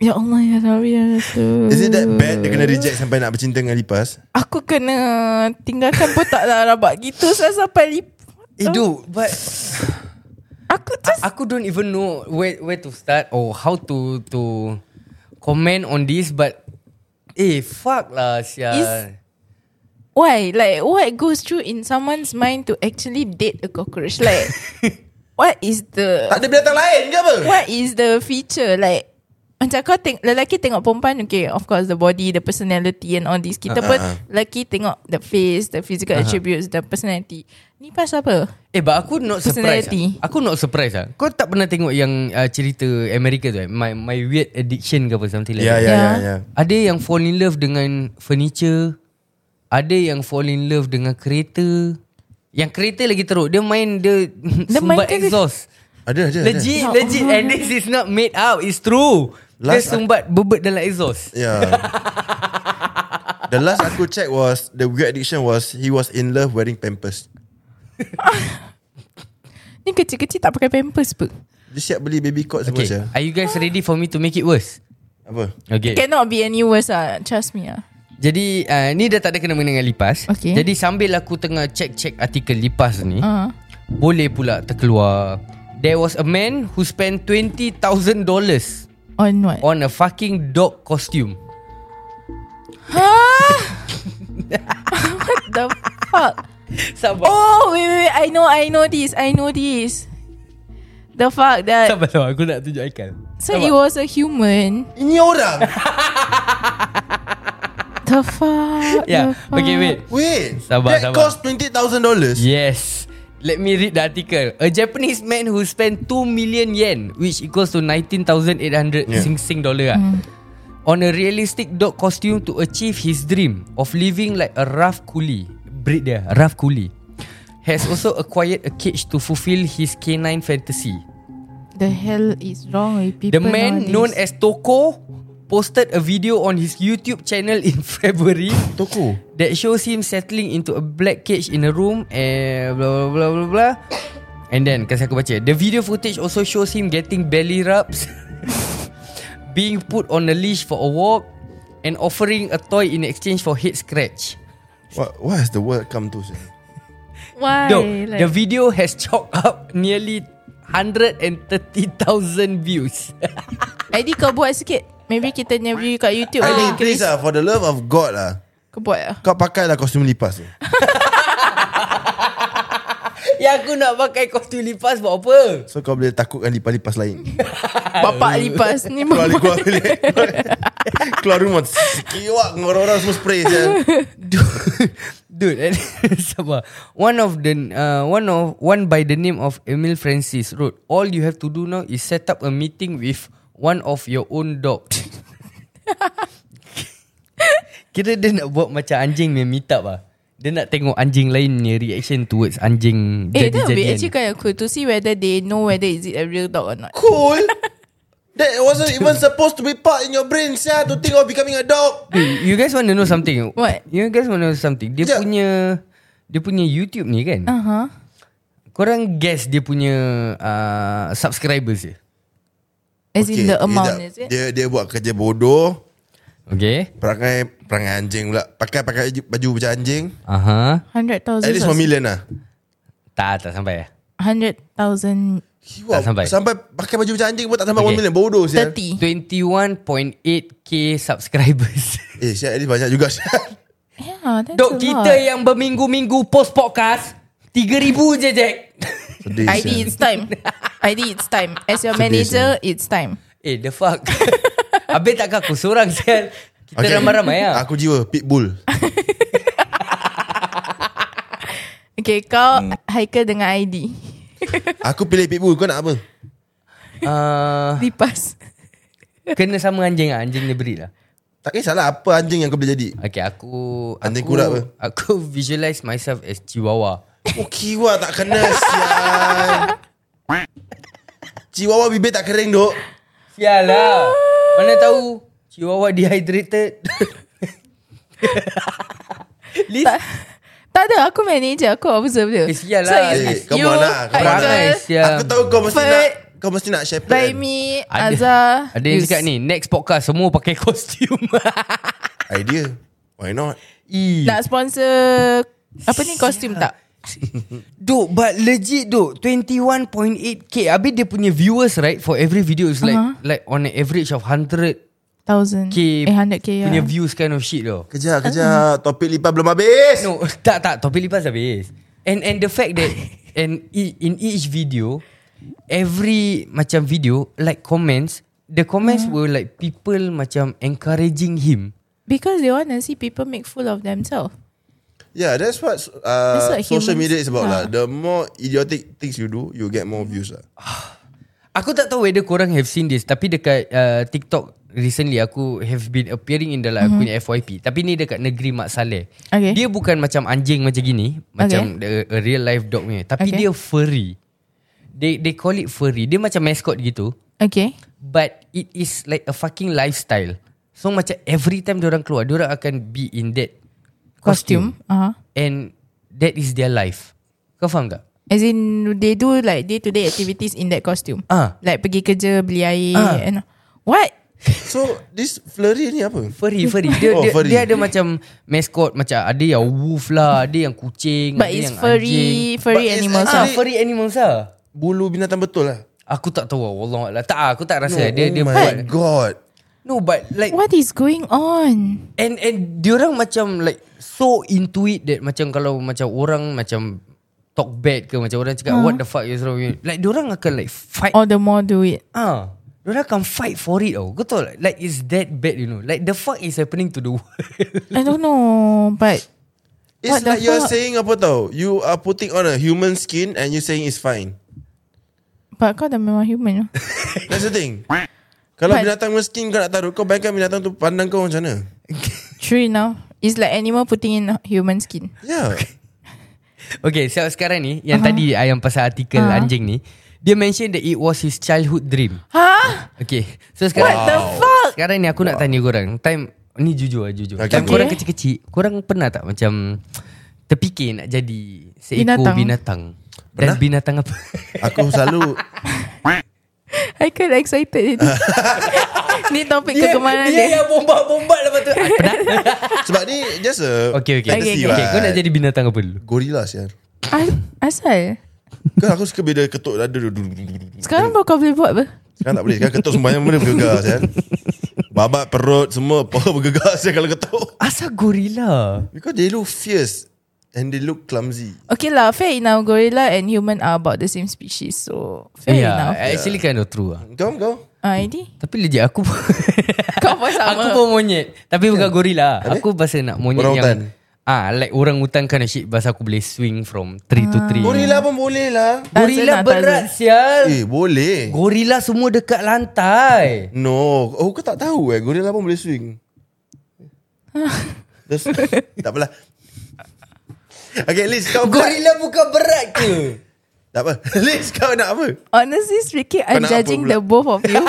S4: Ya Allah, ya Rabbi, ya Rasul.
S2: Is it that bad Dia kena reject sampai nak bercinta dengan lipas
S4: Aku kena tinggalkan botak lah rabak gitu saya sampai lip.
S3: Eh, dude, but
S4: Aku just
S3: Aku don't even know where where to start or how to to comment on this but eh fuck lah sia.
S4: Is- Why? Like, what goes through in someone's mind to actually date a cockroach?
S2: [laughs]
S4: Like, what is the
S2: Tak ada binatang lain ke apa
S4: what is the feature? Like, macam kau teng- lelaki tengok perempuan, okay, of course the body, the personality and all this.
S2: Ah,
S4: Kita pun lelaki tengok the face, the physical attributes, the personality. Ni pas apa?
S3: Eh but aku not surprised.
S4: Personality.
S3: ah. Aku not surprised ah. Kau tak pernah tengok yang uh, cerita Amerika tu eh? My my weird addiction ke apa something like
S2: Ya
S3: that.
S2: ya ya ya
S4: Yeah.
S3: Ada yang fall in love dengan furniture. Ada yang fall in love dengan kereta. Yang kereta lagi teruk. Dia main Ya dia, [laughs] dia sumbat
S4: mainkan dia-
S3: exhaust.
S2: Ada ada ada.
S3: Legit, legit. And this is not made up. It's true.
S2: Last-
S3: dia sumbat bebet dalam exhaust.
S2: Ya The last aku check was The weird addiction was He was in love wearing pampers
S4: Ni kecil-kecil tak pakai pampers pun.
S2: Dia siap beli baby cot semua
S3: Okay.
S2: okay.
S3: Are you guys ready for me to make it worse?
S2: Apa
S3: Okay.
S4: Cannot be any worse ah. Trust me ah.
S3: Jadi uh, ni dah tak ada kena-mengena dengan lipas.
S4: Okey.
S3: Jadi sambil aku tengah check-check artikel lipas ni,
S4: Ah.
S3: boleh pula terkeluar. There was a man who spent $20,000
S4: On what?
S3: on a fucking dog costume.
S4: [laughs] The fuck?
S3: Sabar.
S4: Oh, wait, wait, wait. I know, I know this. I know this. The fuck that.
S3: Sabar, sabar. Aku nak tunjuk Aikal.
S4: So it was a human.
S2: Ini orang
S4: The fuck.
S3: Yeah.
S4: the fuck.
S3: Ya, Okay, wait.
S2: Wait
S3: Sabar,
S2: That
S3: sabar.
S2: cost $20,000
S3: Yes. Let me read the article. A Japanese man who spent 2 million yen, which equals to 19,800
S2: Yeah.
S3: Sing Sing dollar, ah,
S4: Hmm.
S3: on a realistic dog costume to achieve his dream of living like a rough coolie. Breed dia, rough coolie. Has also acquired a cage to fulfill his canine fantasy.
S4: The hell is wrong with
S3: The
S4: people
S3: man
S4: nowadays?
S3: known as Toko posted a video on his YouTube channel in [laughs] February
S2: Toko
S3: that shows him settling into a black cage in a room and blah blah blah blah blah. And then kasi aku baca The video footage also shows him getting belly rubs [laughs] Being put on a leash for a walk And offering a toy in exchange for head scratch
S2: What, what has the world come to sir?
S4: Why?
S3: Though,
S4: like,
S3: The video has chalked up nearly 130,000 views [laughs]
S4: ID kau buat sikit. Maybe kita punya view kat YouTube.
S2: I
S4: boleh
S2: think please
S4: increase.
S2: lah For the love of God lah
S4: Kau buat lah.
S2: Kau pakailah kostum lipas tu
S3: Yang Ya, aku nak pakai kostum lipas buat apa?
S2: So kau boleh takutkan lipas-lipas lain
S4: Bapak lipas
S2: [laughs]
S4: ni
S2: Keluar
S4: bapak.
S2: keluar [laughs] bilik Keluar rumah Kiwak dengan orang-orang semua spray je
S3: Dude, [laughs] dude [laughs] sabar. One of the uh, one of one by the name of Emil Francis wrote, "All you have to do now is set up a meeting with one of your own dog." [laughs] Kira dia nak buat macam anjing punya meet up ah. Dia nak tengok anjing lain punya reaction towards anjing
S4: [laughs] Eh, that would be actually
S3: jadi-jadian.
S4: kind of cool to see whether they know whether is it a real dog or not.
S2: Cool That wasn't even supposed to be part in your brain Sia to think of becoming a dog
S3: Dude, you guys want to know something?
S4: What?
S3: You guys want to know something? Dia
S2: Sekejap.
S3: punya dia punya YouTube ni kan?
S4: Uh-huh.
S3: Korang guess dia punya uh, subscribers je.
S4: As in the amount,
S2: dia,
S4: is it?
S2: Dia, dia buat kerja bodoh
S3: Okay.
S2: Perangai Perangai anjing pula Pakai-pakai baju- baju macam anjing
S3: Aha. Uh-huh.
S4: 100,000.
S2: At least 1 million lah
S3: Tak, tak sampai ya.
S4: 100,000.
S2: Kiwak,
S3: Tak sampai.
S2: sampai pakai baju macam anjing pun tak sampai
S3: Okay.
S2: 1 million Bodoh sia
S4: 30.
S3: 21.8k subscribers.
S2: Eh sia at least banyak juga sia
S4: Yeah, [laughs] that's
S3: Dok
S4: a
S3: kita
S4: lot.
S3: yang berminggu-minggu post podcast 3000 je Jack. [laughs]
S2: Sedih
S4: ID
S2: sia
S4: it's time. ID it's time. As your
S2: Sedih,
S4: manager, it's time.
S3: eh the
S4: [laughs]
S3: fuck. Habis takkan aku seorang sial. Kita
S2: Okay.
S3: ramai-ramai ya.
S2: Aku jiwa
S3: [laughs]
S2: Pitbull
S4: Okay, kau
S3: Hmm.
S4: Haikal dengan [laughs] ID.
S2: Aku pilih Pitbull Kau nak apa?
S3: Uh,
S4: Lipas.
S3: kena sama anjing lah. Anjing dia beri lah.
S2: Tak kisahlah apa anjing yang kau boleh jadi
S3: Okay aku
S2: Anjing
S3: aku,
S2: kurak ke?
S3: Aku [laughs] visualize myself as chihuahua.
S2: Oh kiwa tak
S3: [laughs]
S2: kena sial Chihuahua bibir tak kering duk
S3: Sial
S4: Ah.
S3: lah. Mana tahu chihuahua
S4: [laughs]
S3: dehydrated. Liz,
S4: Tak ada, aku manager. Aku observe dia.
S3: Eh, sial
S4: So,
S3: lah.
S4: it's
S2: Eh, come
S4: you,
S2: on lah, come on lah.
S4: Haikal,
S3: Perangai sial.
S2: Aku tahu kau mesti
S4: But-
S2: nak Kau mesti nak shepherd
S4: by
S2: kan?
S4: me,
S3: Ada-
S4: Azhar.
S3: Ada yang
S4: Yus.
S3: cakap ni Next podcast Semua pakai [laughs] kostum
S2: Idea Why not
S3: Ih.
S4: Nak sponsor apa ni kostum tak?
S3: Duk But legit duk 21.8k Habis dia punya viewers right For every video Is like uh-huh. Like on an average of 100k
S4: Thousand. Eh, 100k ya.
S3: Punya views kind of shit tau
S2: Kejap kejap Topik lipat belum habis
S3: No [laughs] Tak tak Topik lipas habis And and the
S4: [laughs]
S3: fact that And e- in each video Every Macam video Like comments The comments uh-huh. were like People macam Encouraging him
S4: Because they want to see people make fool of themselves.
S2: Yeah that's what
S4: That's
S2: uh,
S4: what
S2: Social
S4: humans-
S2: media is about
S4: Ha.
S2: lah The more idiotic things you do You get more views lah
S3: Aku tak tahu whether korang have seen this Tapi dekat uh, TikTok Recently aku have been appearing in dalam mm-hmm. aku punya FYP Tapi ni dekat negeri Mak Saleh
S4: Mhm. Okay.
S3: Dia bukan macam anjing macam gini Macam the, a real life dog punya Tapi
S4: Okay.
S3: dia furry they, they call it furry Dia macam mascot gitu
S4: Okay.
S3: But it is like a fucking lifestyle So macam every time diorang keluar Diorang akan be in that
S4: Costume. Uh-huh.
S3: And that is their life Kau faham tak?
S4: As in they do like day to day activities in that costume.
S3: Ah.
S4: Like pergi kerja beli air
S3: Ah.
S4: and what?
S2: So this flurry ni apa?
S3: Furry, furry. Dia,
S2: Oh,
S3: dia,
S2: furry.
S3: dia ada macam mascot. Macam ada yang wolf lah. Ada yang kucing.
S4: But
S3: ada
S4: it's
S3: yang anjing.
S4: furry
S2: But
S4: Furry
S2: it's
S3: Ah,
S4: animals lah
S2: actually-
S3: furry animals lah.
S2: Bulu binatang betul lah.
S3: Aku tak tahu lah. Wallah. Tak, ah, aku tak rasa. No,
S2: oh
S3: dia, dia
S2: my
S3: buat.
S2: god.
S3: No, but like.
S4: Ah. What is going on?
S3: And and diorang macam like so into it that macam kalau macam orang macam talk bad ke macam orang cakap what the fuck is wrong with you? Like diorang akan like fight.
S4: All the more do it
S3: Ah, diorang akan fight for it tau. Kau tahu like, like it's that bad you know. Like the fuck is happening to the [laughs] world.
S4: I don't know But
S2: It's
S4: What the
S2: like you're
S4: fuck?
S2: saying apa tau You are putting on a human skin And you're saying it's fine
S4: But kau dah memang human
S2: That's the thing Kalau
S4: But-
S2: binatang punya skin kau nak taruh Kau bayangkan binatang tu pandang kau macam mana
S4: True now It's like animal putting in human skin
S2: Yeah
S3: okay, so sekarang ni yang uh-huh. tadi ah, yang pasal artikel uh-huh.
S4: Ah.
S3: anjing ni, dia mention that it was his childhood dream.
S4: Huh?
S3: Okay So sekarang
S4: Ha? What the fuck?
S3: Sekarang ni aku nak tanya korang Time Ni jujur lah jujur
S2: Okay.
S3: Time
S2: Okay.
S3: korang kecil-kecil Korang pernah tak macam Terfikir nak jadi Seekor binatang,
S4: Binatang.
S3: binatang. Dan
S2: Pernah?
S3: binatang
S4: [laughs]
S3: apa
S2: Aku selalu
S4: Haikal excited tadi Ni topik kegemaran dia,
S3: yang bombat-bombat lepas tu Ah, Pernah
S2: Sebab ni just a
S3: Okay okay
S4: Okay,
S2: fantasy lah. what.
S3: okay
S4: okay.
S3: Kau nak jadi binatang apa dulu
S2: Gorilla siar
S4: As- Asal
S2: Kan aku suka bila ketuk dada dulu, dulu, dulu, dulu.
S4: Sekarang baru kau boleh buat apa?
S2: Sekarang tak boleh Sekarang ketuk sembahyang benda bergegar siar Babat perut semua Apa bergegar siar kalau ketuk
S3: Asal gorila
S2: Because they look fierce And they look clumsy
S4: Okay lah Fair enough Gorilla and human Are about the same species So Fair
S3: yeah,
S4: enough
S3: Ya, Actually kind of true lah
S2: Kau kau
S4: Ah, ini
S3: Tapi legit aku pun
S4: [laughs] Kau pun
S3: Aku
S4: sama.
S3: pun monyet Tapi bukan gorila Aku pasal nak monyet
S2: Orang
S3: yang
S2: hutan.
S3: Ah, like orang hutan kind of shit Pasal aku boleh swing from tree to tree
S2: Ah. Gorilla pun boleh lah
S3: Gorila
S4: Tarzan lah,
S3: berat sial
S2: Eh boleh
S3: Gorila semua dekat lantai
S2: No Oh kau tak tahu eh Gorilla pun boleh swing Terus, Tak apalah Okay Liz kau
S3: Gorila bukan berat ke
S2: Tak apa [laughs] Liz kau nak apa
S4: Honestly speaking I'm
S2: nak apa
S4: judging
S2: pula?
S4: the both of
S3: [laughs]
S4: you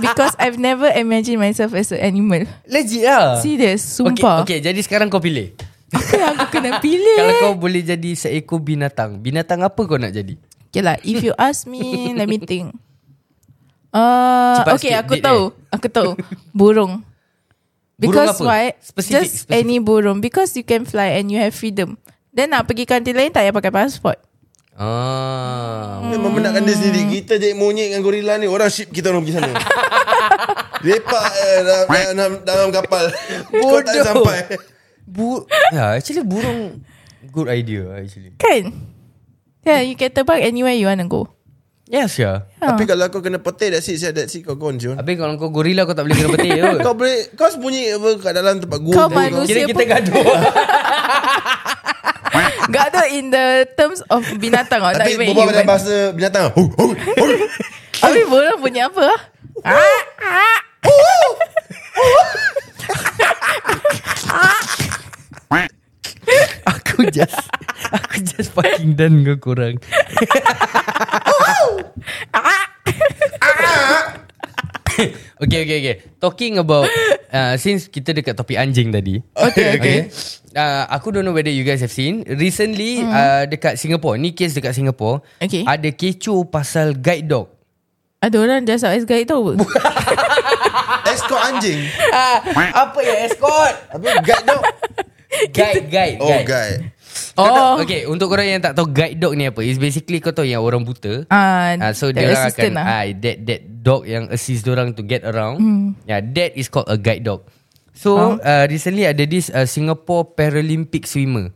S4: Because I've never imagined myself As an animal
S3: Legit lah okay,
S4: Serious Sumpah
S3: okay jadi sekarang kau pilih
S4: Apa yang aku kena pilih
S3: Kalau kau boleh jadi seekor binatang Binatang apa kau nak jadi
S4: Okay lah If you ask
S3: [laughs]
S4: me Let me think uh,
S3: Cepat
S4: Okay
S3: sikit,
S4: aku
S3: date
S4: tahu Aku tahu
S3: [laughs]
S4: Burung Because
S3: apa?
S4: why
S3: Specific,
S4: Just
S3: specific.
S4: any burung Because you can fly And you have freedom Then nak pergi country lain Tak payah pakai passport
S3: Ah,
S2: Memang benarkan dia sendiri Kita jadi monyet dengan gorila ni Orang ship kita orang pergi sana Lepak eh, dalam, dalam, dalam kapal Kau tak
S3: Bodoh.
S2: sampai
S3: bu yeah, Ya, actually burung good idea actually.
S4: Kan Yeah you can terbang Anywhere you
S3: [laughs]
S4: wanna go
S3: Yes ya.
S4: Ah.
S2: Tapi kalau kau kena petir That's it sia, That's it kau gone John
S3: Habis kalau kau gorila kau tak boleh kena
S4: [laughs]
S3: petir kot.
S2: Kau boleh Kau sembunyi apa Kat dalam tempat gua
S4: Kau
S2: tu,
S4: manusia
S3: Kira kita
S4: pun
S3: gaduh.
S4: Gaduh in the terms of binatang tau, Tak
S2: Tapi
S4: even
S2: berbual
S4: human
S2: dalam bahasa binatang Hu, hu, hu.
S4: Habis burung punya apa ah? Ah, ah.
S3: aku just [laughs] aku just fucking done kau korang. [laughs] okay, okay, okay. Talking about uh, since kita dekat topik anjing tadi.
S4: Okay, okay.
S3: Uh, aku don't know whether you guys have seen recently mm. uh, dekat Singapore. Ni case dekat Singapore.
S4: Okay.
S3: Ada kecoh pasal guide dog.
S4: Ada orang just out as guide tau
S2: Escort anjing
S3: Apa ya escort?
S2: Habis guide dog
S3: guide, guide,
S2: Oh guide
S3: Kau tahu-
S4: Oh.
S3: Okay Untuk korang yang tak tahu Guide dog ni apa It's basically kau tahu Yang orang buta
S4: Ah,
S3: Ah, so
S4: the
S3: dia orang akan
S4: assistant
S3: lah.
S4: lah.
S3: ah, that that dog yang assist dia orang to get around.
S4: Hmm.
S3: Yeah, that is called a guide dog. So
S4: Oh.
S3: uh, recently ada this uh, Singapore Paralympic swimmer.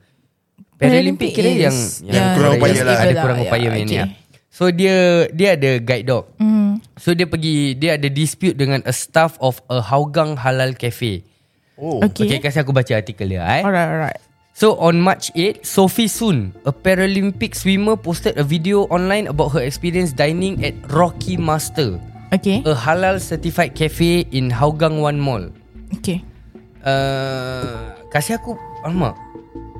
S3: Paralympic
S4: Paralympic
S3: kira
S4: is-
S3: yang
S4: yang
S2: kurang upaya lah.
S3: Ada
S4: lah,
S3: kurang
S4: ya,
S3: upaya punya ni.
S4: okay.
S3: ah. So dia dia ada guide dog.
S4: Hmm.
S3: So dia pergi dia ada dispute dengan a staff of a Hougang Halal Cafe.
S2: Oh
S4: Okay.
S3: Okay, kan? kasih aku baca artikel dia eh.
S4: Alright alright
S3: So on March 8, Sophie Soon, a Paralympic swimmer, posted a video online about her experience dining at Rocky Master,
S4: Okay
S3: a halal certified cafe in Hougang One Mall.
S4: Okay
S3: Uh, kasih aku Alamak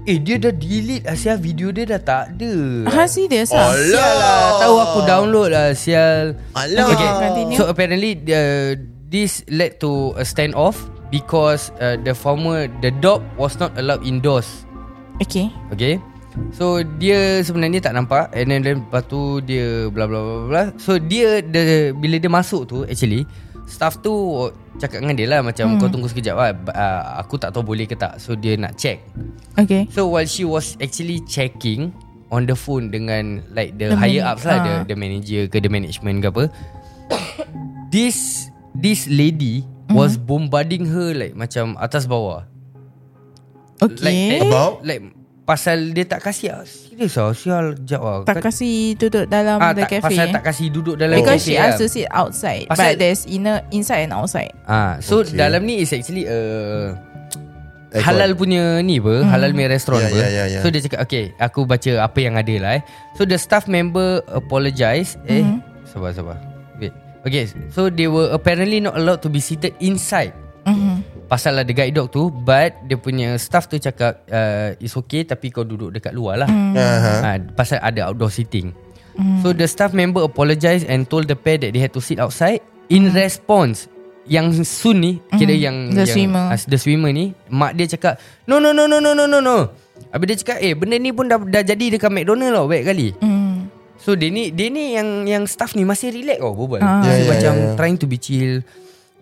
S3: Eh dia dah delete Asia video dia dah tak ada
S4: Ha serious lah
S2: Alah.
S3: Sial lah Tahu aku download lah Sial
S2: Alah.
S3: okay.
S4: Continue.
S3: So apparently uh, This led to a standoff Because uh, the former The dog was not allowed indoors
S4: Okay
S3: Okay So dia sebenarnya tak nampak And then, then lepas tu dia bla bla bla bla So dia the, Bila dia masuk tu actually Staff tu Cakap dengan dia lah Macam hmm. kau tunggu sekejap lah B- uh, Aku tak tahu boleh ke tak So dia nak check
S4: Okay
S3: So while she was actually checking On the phone dengan Like the, the
S4: The
S3: higher
S4: manag-
S3: ups lah
S4: ah.
S3: the, the manager ke The management ke apa [coughs] This This lady Was bombarding her Like macam atas bawah
S4: Okay
S3: Like, eh,
S2: About?
S3: Like Pasal dia tak kasih ah. Serius lah Sial jap lah
S2: Kan-
S4: Tak kasi duduk dalam
S3: ah,
S4: the
S3: tak,
S4: cafe
S3: Pasal
S4: eh?
S3: tak kasih duduk dalam
S4: Because
S3: cafe
S4: she
S3: lah.
S4: asked to sit outside
S3: Pasal-
S4: But there's inner inside and outside
S3: Ah, so
S2: Okay.
S3: okay. dalam ni is actually a
S2: Aircon.
S3: halal punya ni apa, hmm. halal punya restoran
S2: Ya,
S3: apa.
S2: ya, ya, ya.
S3: So dia cakap, okay, aku baca apa yang ada lah eh. So the staff member apologize. Eh,
S4: Hmm.
S3: sabar, sabar. Wait. Okay, so they were apparently not allowed to be seated inside.
S4: Hmm.
S3: Mm-hmm. Pasal ada guide dog tu But Dia punya staff tu cakap uh, It's okay Tapi kau duduk dekat luar lah
S4: Hmm.
S3: mm.
S2: Aha.
S3: uh, Pasal ada outdoor seating mm. So the staff member apologise And told the pair That they had to sit outside In mm. response Yang Sun ni mm. Kira yang
S4: Hmm. The
S3: yang,
S4: swimmer.
S3: as- The swimmer ni Mak dia cakap No no no no no no no no Habis dia cakap Eh benda ni pun dah, dah jadi Dekat McDonald tau Baik kali
S4: Hmm
S3: So dia ni Dia ni yang Yang staff ni Masih relax tau Berbual ah.
S4: Ah.
S2: Ya,
S3: yeah,
S2: ya,
S3: Macam
S2: ya,
S3: yeah,
S2: ya.
S3: yeah. trying to be chill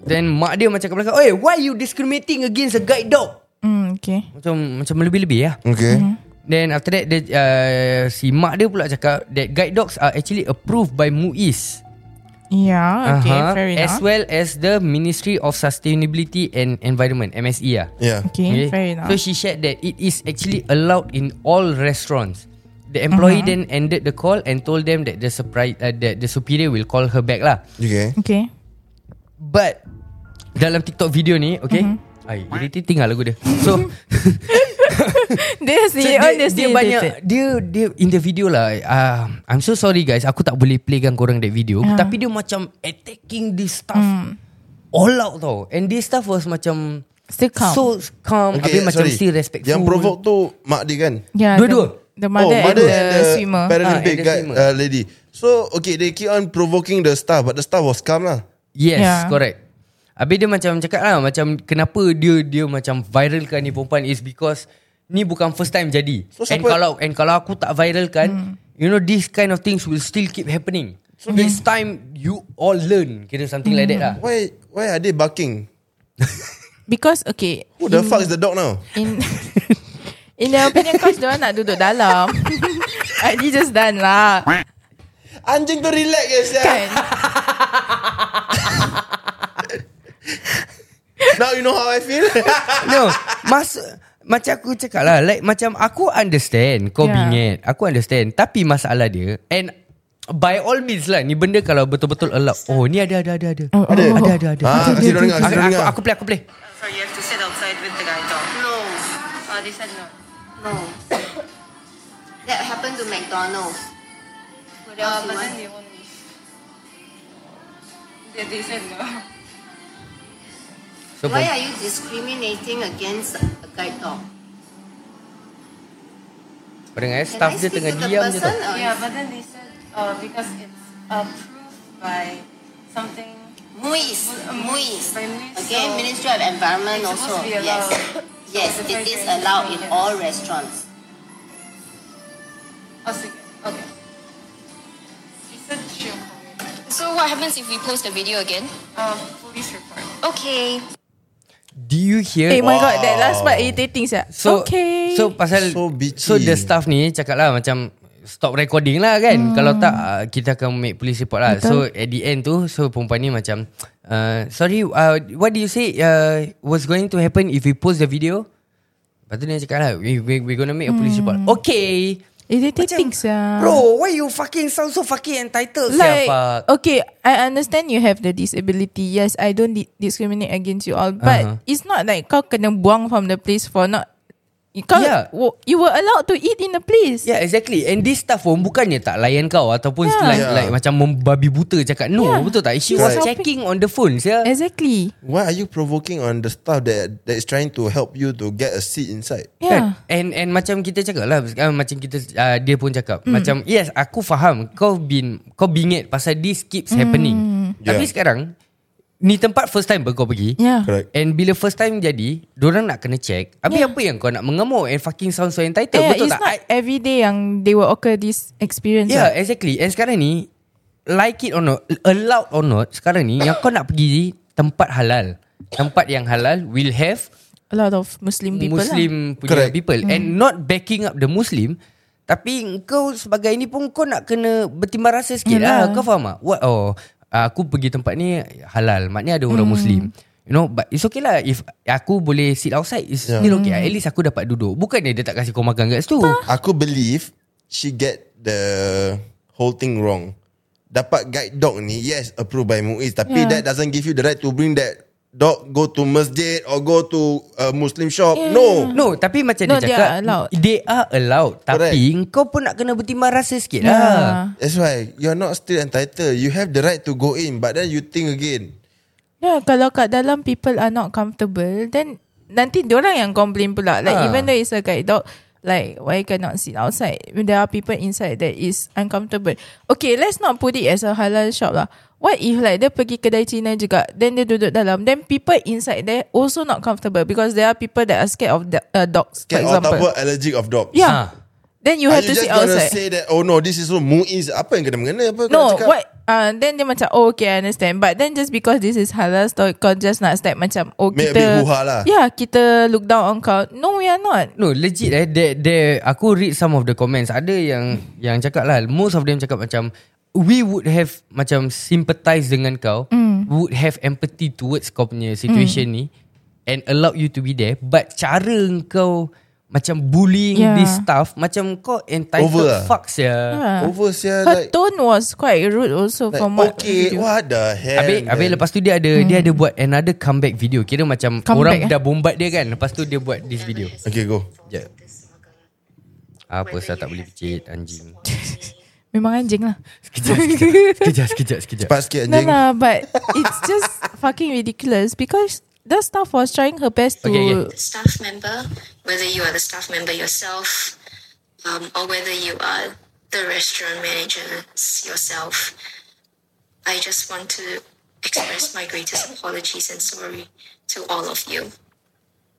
S3: Then mak dia macam kat belakang Eh why you discriminating Against a guide dog
S4: Hmm okay
S3: Macam Macam lebih-lebih lah
S2: Okay.
S3: Then after that dia, uh, Si mak dia pula cakap That guide dogs are actually approved by MUIS
S4: Yeah okay
S3: Aha,
S4: fair
S3: Uh-huh. As
S4: enough
S3: well as the Ministry of Sustainability and Environment MSE lah
S2: Yeah.
S4: Okay fair enough
S3: So she shared that it is actually allowed in all restaurants. The employee uh-huh. then ended the call and told them that the surprise uh, that the superior will call her back lah.
S2: Okay.
S4: Okay
S3: But dalam TikTok video ni, okay?
S4: Mm-hmm.
S3: Uh-huh. Ai, irritating lah lagu dia. So,
S4: [laughs] [laughs] Dia
S3: so
S4: si on dia si
S3: dia banyak dia dia in the video lah. Uh, I'm so sorry guys, aku tak boleh playkan korang that video.
S4: Ah.
S3: Uh-huh. Tapi dia macam attacking this stuff
S4: Hmm.
S3: all out tau. And this stuff was macam
S4: Still calm
S3: So calm okay, Habis macam
S2: sorry.
S3: still respectful
S2: Yang provoke tu mak dia kan?
S4: yeah,
S3: Dua-dua.
S4: the, the mother,
S2: oh, mother
S4: and the, swimmer
S2: Paralympic
S3: Ah, and the
S2: guy,
S3: swimmer.
S2: uh, lady. So, okay, they keep on provoking the star, but the star was calm lah.
S3: Yes, yeah.
S4: Yeah.
S3: correct. Habis dia macam cakap lah Macam kenapa dia dia macam viralkan ni perempuan Is because Ni bukan first time jadi
S2: So,
S3: so,
S2: siapa-
S3: And kalau and kalau aku tak viralkan hmm. You know this kind of things will still keep happening
S4: Hmm.
S3: So this time you all learn Kira something like that lah
S2: Why why are they barking?
S4: Because okay
S2: Who the
S3: Hmm.
S2: fuck is the dog now?
S4: In In their opinion course Diorang nak duduk [laughs] dalam Adi just done lah
S2: Anjing tu relax guys ya.
S3: [laughs]
S4: Kan
S2: Now you know how I
S3: [laughs]
S2: feel. Ah,
S3: No Mas Macam aku cakap lah Like macam Aku understand Kau yeah.
S4: Yeah.
S3: bingit Aku understand Tapi masalah dia And By all means lah Ni benda kalau betul-betul allow Oh ni ada ada ada ada
S4: Oh,
S3: Ada
S4: oh.
S3: ada ada, ada.
S2: Ah, kasih dorang dengar, kasih
S3: Aku,
S2: dorang
S3: aku,
S2: dengar.
S3: aku play aku play
S6: So you have to sit outside with the guide dog? No. Oh, they said no.
S7: No. [coughs] that happened to McDonald's.
S6: What
S7: else you want?
S6: they won't They, they said no.
S3: So,
S7: Why are you discriminating against a guide dog?
S3: Kau dengar eh
S7: Can
S3: Staff
S7: I
S3: dia
S7: speak
S3: tengah
S7: to the
S3: diam je
S7: person
S3: tau
S7: or-
S6: Yeah, but then they said uh, because it's approved by something.
S7: Muis.
S6: Mu-
S7: Muis.
S6: by Muis,
S7: Okay,
S6: so-
S7: Ministry of Environment
S6: It's
S7: also.
S6: supposed to
S7: Yes.
S6: be allowed.
S7: Yes,
S6: So it's a
S7: it
S6: very
S7: is
S6: great
S7: allowed in
S6: idea.
S7: all restaurants.
S6: Oh, so- okay. They said she'll call me.
S8: So what happens if we post the video again?
S6: Uh, police report.
S8: Okay.
S3: Do you hear
S4: Eh my god That last part irritating sia
S3: So
S4: Okay
S3: So pasal
S2: So bitchy.
S3: So the staff ni Cakap lah macam Stop recording lah kan hmm. Kalau tak uh, Kita akan make police report lah Betul. So at the end tu So perempuan ni macam uh, Sorry uh, What do you say uh, What's going to happen If we post the video Lepas tu dia cakap lah we, we, We're gonna make a police report Okay Ah.
S4: Irritating sia
S3: Bro why you fucking sound so fucking entitled
S4: Like
S3: siapa?
S4: Okay I understand you have the disability Yes I don't di- discriminate against you all But
S3: Uh-huh.
S4: It's not like Kau kena buang from the place For not kau,
S3: Yeah.
S4: wo- You were allowed to eat in the place
S3: Yeah exactly And this staff pun Bukannya tak layan kau Ataupun yeah.
S4: Yeah.
S3: like,
S2: Yeah.
S3: like Macam membabi buta Cakap no yeah.
S4: Yeah.
S3: Betul tak She
S4: Correct.
S3: was checking on the phone saya.
S4: Exactly
S2: Why are you provoking on the staff that that is trying to help you to get a seat inside?
S4: Yeah
S3: Kan? And and macam kita cakap lah uh, Macam kita uh, Dia pun cakap mm.
S4: Hmm.
S3: Macam yes aku faham Kau bin Kau bingit Pasal this keeps happening
S4: Hmm.
S2: Yeah.
S3: Tapi sekarang Ni tempat first time kau pergi
S4: Yeah
S2: Correct.
S3: And bila first time jadi Diorang nak kena check Habis yeah.
S4: Yeah.
S3: apa yang kau nak mengamuk And fucking sound so entitled
S4: Yeah,
S3: Betul tak
S4: it's not every day yang they will occur this experience.
S3: Yeah,
S4: lah.
S3: exactly. And sekarang ni, like it or not, allowed or not, sekarang ni yang kau nak pergi tempat halal. Tempat yang halal will have
S4: A lot of Muslim people
S3: Muslim
S4: lah. Hmm.
S3: punya
S2: Correct.
S3: people and not backing up the Muslim tapi kau sebagai ni pun kau nak kena bertimbang rasa sikit lah.
S4: Yalah.
S3: Kau faham tak? What, oh, aku pergi tempat ni halal. Maknanya ada orang
S4: Hmm.
S3: Muslim. You know, but it's okay lah if aku boleh sit outside. It's
S2: Yeah.
S3: still
S4: Hmm.
S3: okay. At least aku dapat duduk. Bukannya dia tak kasi kau makan kat situ.
S2: Aku believe she get the whole thing wrong. Dapat guide dog ni, yes, approved by MUIS. Tapi
S4: Yeah.
S2: that doesn't give you the right to bring that dog go to masjid or go to a Muslim shop. No.
S3: No, tapi macam dia
S4: No, they
S3: cakap
S4: are allowed.
S3: They are allowed. Tapi kau pun nak kena bertimbang rasa
S4: Ya.
S3: sikit lah.
S2: That's why you're not still entitled. You have the right to go in, but then you think again.
S4: Yeah, Ya, kalau kat dalam people are not comfortable, then nanti diorang yang complain pula.
S3: Ah.
S4: Like even though it's a guide dog, like why cannot sit outside? There are people inside that is uncomfortable. Okay, let's not put it as a halal shop lah. What if like dia pergi kedai Cina juga, then dia duduk dalam, then people inside there also not comfortable because there are people that are scared of the, uh, dogs,
S2: Cat or
S4: for example.
S2: tower allergic of dogs.
S3: Ah.
S4: Yeah. Then you
S2: Are
S4: have
S2: you
S4: to
S2: just
S4: sit
S2: gonna
S4: outside.
S2: say that Oh no this is so Muiz Apa yang kena mengena apa kau nak
S4: No,
S2: cakap?
S4: what? Uh, then dia macam, oh okay, I understand. But then just because this is halal store, kau just nak step macam, oh
S2: Make a
S4: kita...
S2: big hoo-ha lah.
S4: Yeah, kita look down on kau. No, we are not.
S3: No legit eh they, they, Aku read some of the comments Ada yang Yang cakap lah Most of them cakap macam We would have Macam sympathize dengan kau mm. Would have empathy Towards kau punya situation mm. ni And allow you to be there But cara kau Macam bullying yeah.
S4: Yeah.
S3: this stuff Macam kau entitled
S2: Over
S3: Over.
S2: lah.
S3: fuck sia yeah.
S4: Yeah.
S2: Over sia
S4: Ah. Her
S2: like,
S4: tone was quite rude also
S2: like
S4: from what
S2: Okay
S4: video.
S2: What the hell
S3: Habis,
S2: man?
S3: habis lepas tu dia ada Dia ada buat another Mm. comeback video Kira macam
S4: Comeback,
S3: Orang
S4: eh?
S3: dah bombat dia kan Lepas tu dia buat this video
S2: Okay go
S3: Sekejap Apa saya tak boleh picit [laughs] Anjing
S4: Memang anjing lah.
S3: Sekejap Sekejap Sekejap Sekejap, sekejap.
S2: Cepat sikit
S4: No,
S2: anjing
S4: no, but it's just fucking ridiculous because the staff was trying her best to...
S3: Okay, okay.
S9: staff member, whether you are the staff member yourself, um, or whether you are the restaurant managers yourself, I just want to express my greatest apologies and sorry to all of you.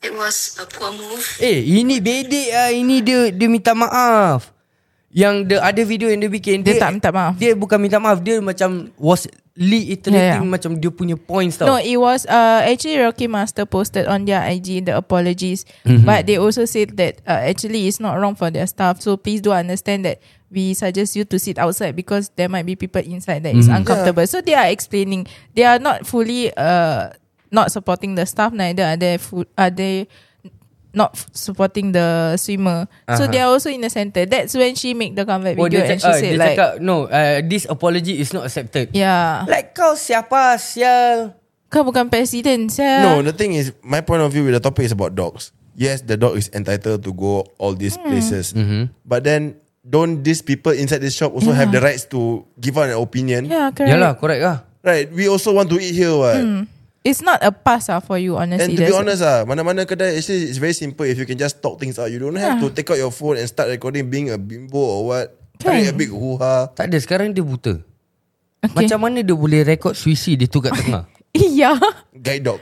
S9: It was a poor move.
S3: Eh ini bedek ah Ini dia Dia minta maaf Yang the ada video yang dia bikin
S4: Dia tak minta maaf.
S3: Dia bukan minta maaf Dia macam Was reiterating yeah,
S4: Yeah, yeah.
S3: yeah. Macam dia punya points tau
S4: Ya, No, it was uh, actually Rocky Master posted on their IG the apologies,
S3: Mm-hmm.
S4: but they also said that uh, actually it's not wrong for their staff. So please do understand that we suggest you to sit outside because there might be people inside that is
S3: Mm-hmm.
S4: uncomfortable. So they are explaining. They are not fully uh not supporting the staff. Neither are they fu- are they not f- supporting the swimmer. So they are also in the center. That's when she make the comeback
S3: Uh-huh. Oh,
S4: video
S3: dia,
S4: and
S3: cak,
S4: she
S3: ah,
S4: said
S3: dia
S4: like,
S3: cakap No uh, This apology is not accepted
S4: yeah,
S3: Like kau siapa Sial
S4: kau bukan presiden, saya.
S2: No the thing is My point of view with the topic is about dogs Yes the dog is entitled to go All these
S4: Hmm.
S2: places But then Don't these people inside this shop Also have the rights to Give out an opinion
S4: Yeah, correct.
S3: Yalah correct lah
S2: Right We also want to eat here what?
S4: It's not a pass ah for you
S2: And
S4: honestly.
S2: to be
S4: Hmm.
S2: honest
S4: That's- [laughs]
S2: ah, mana-mana kedai actually it's very simple if you can just talk things out. You don't have
S4: Yeah.
S2: to take out your phone and start recording being a bimbo or what. Tarik a
S4: Kan?
S2: big hoo-ha.
S3: Tak ada sekarang dia buta
S4: Okay.
S3: Macam mana dia boleh rekod suisi Dia tu kat tengah
S4: Iya.
S2: Guide dog.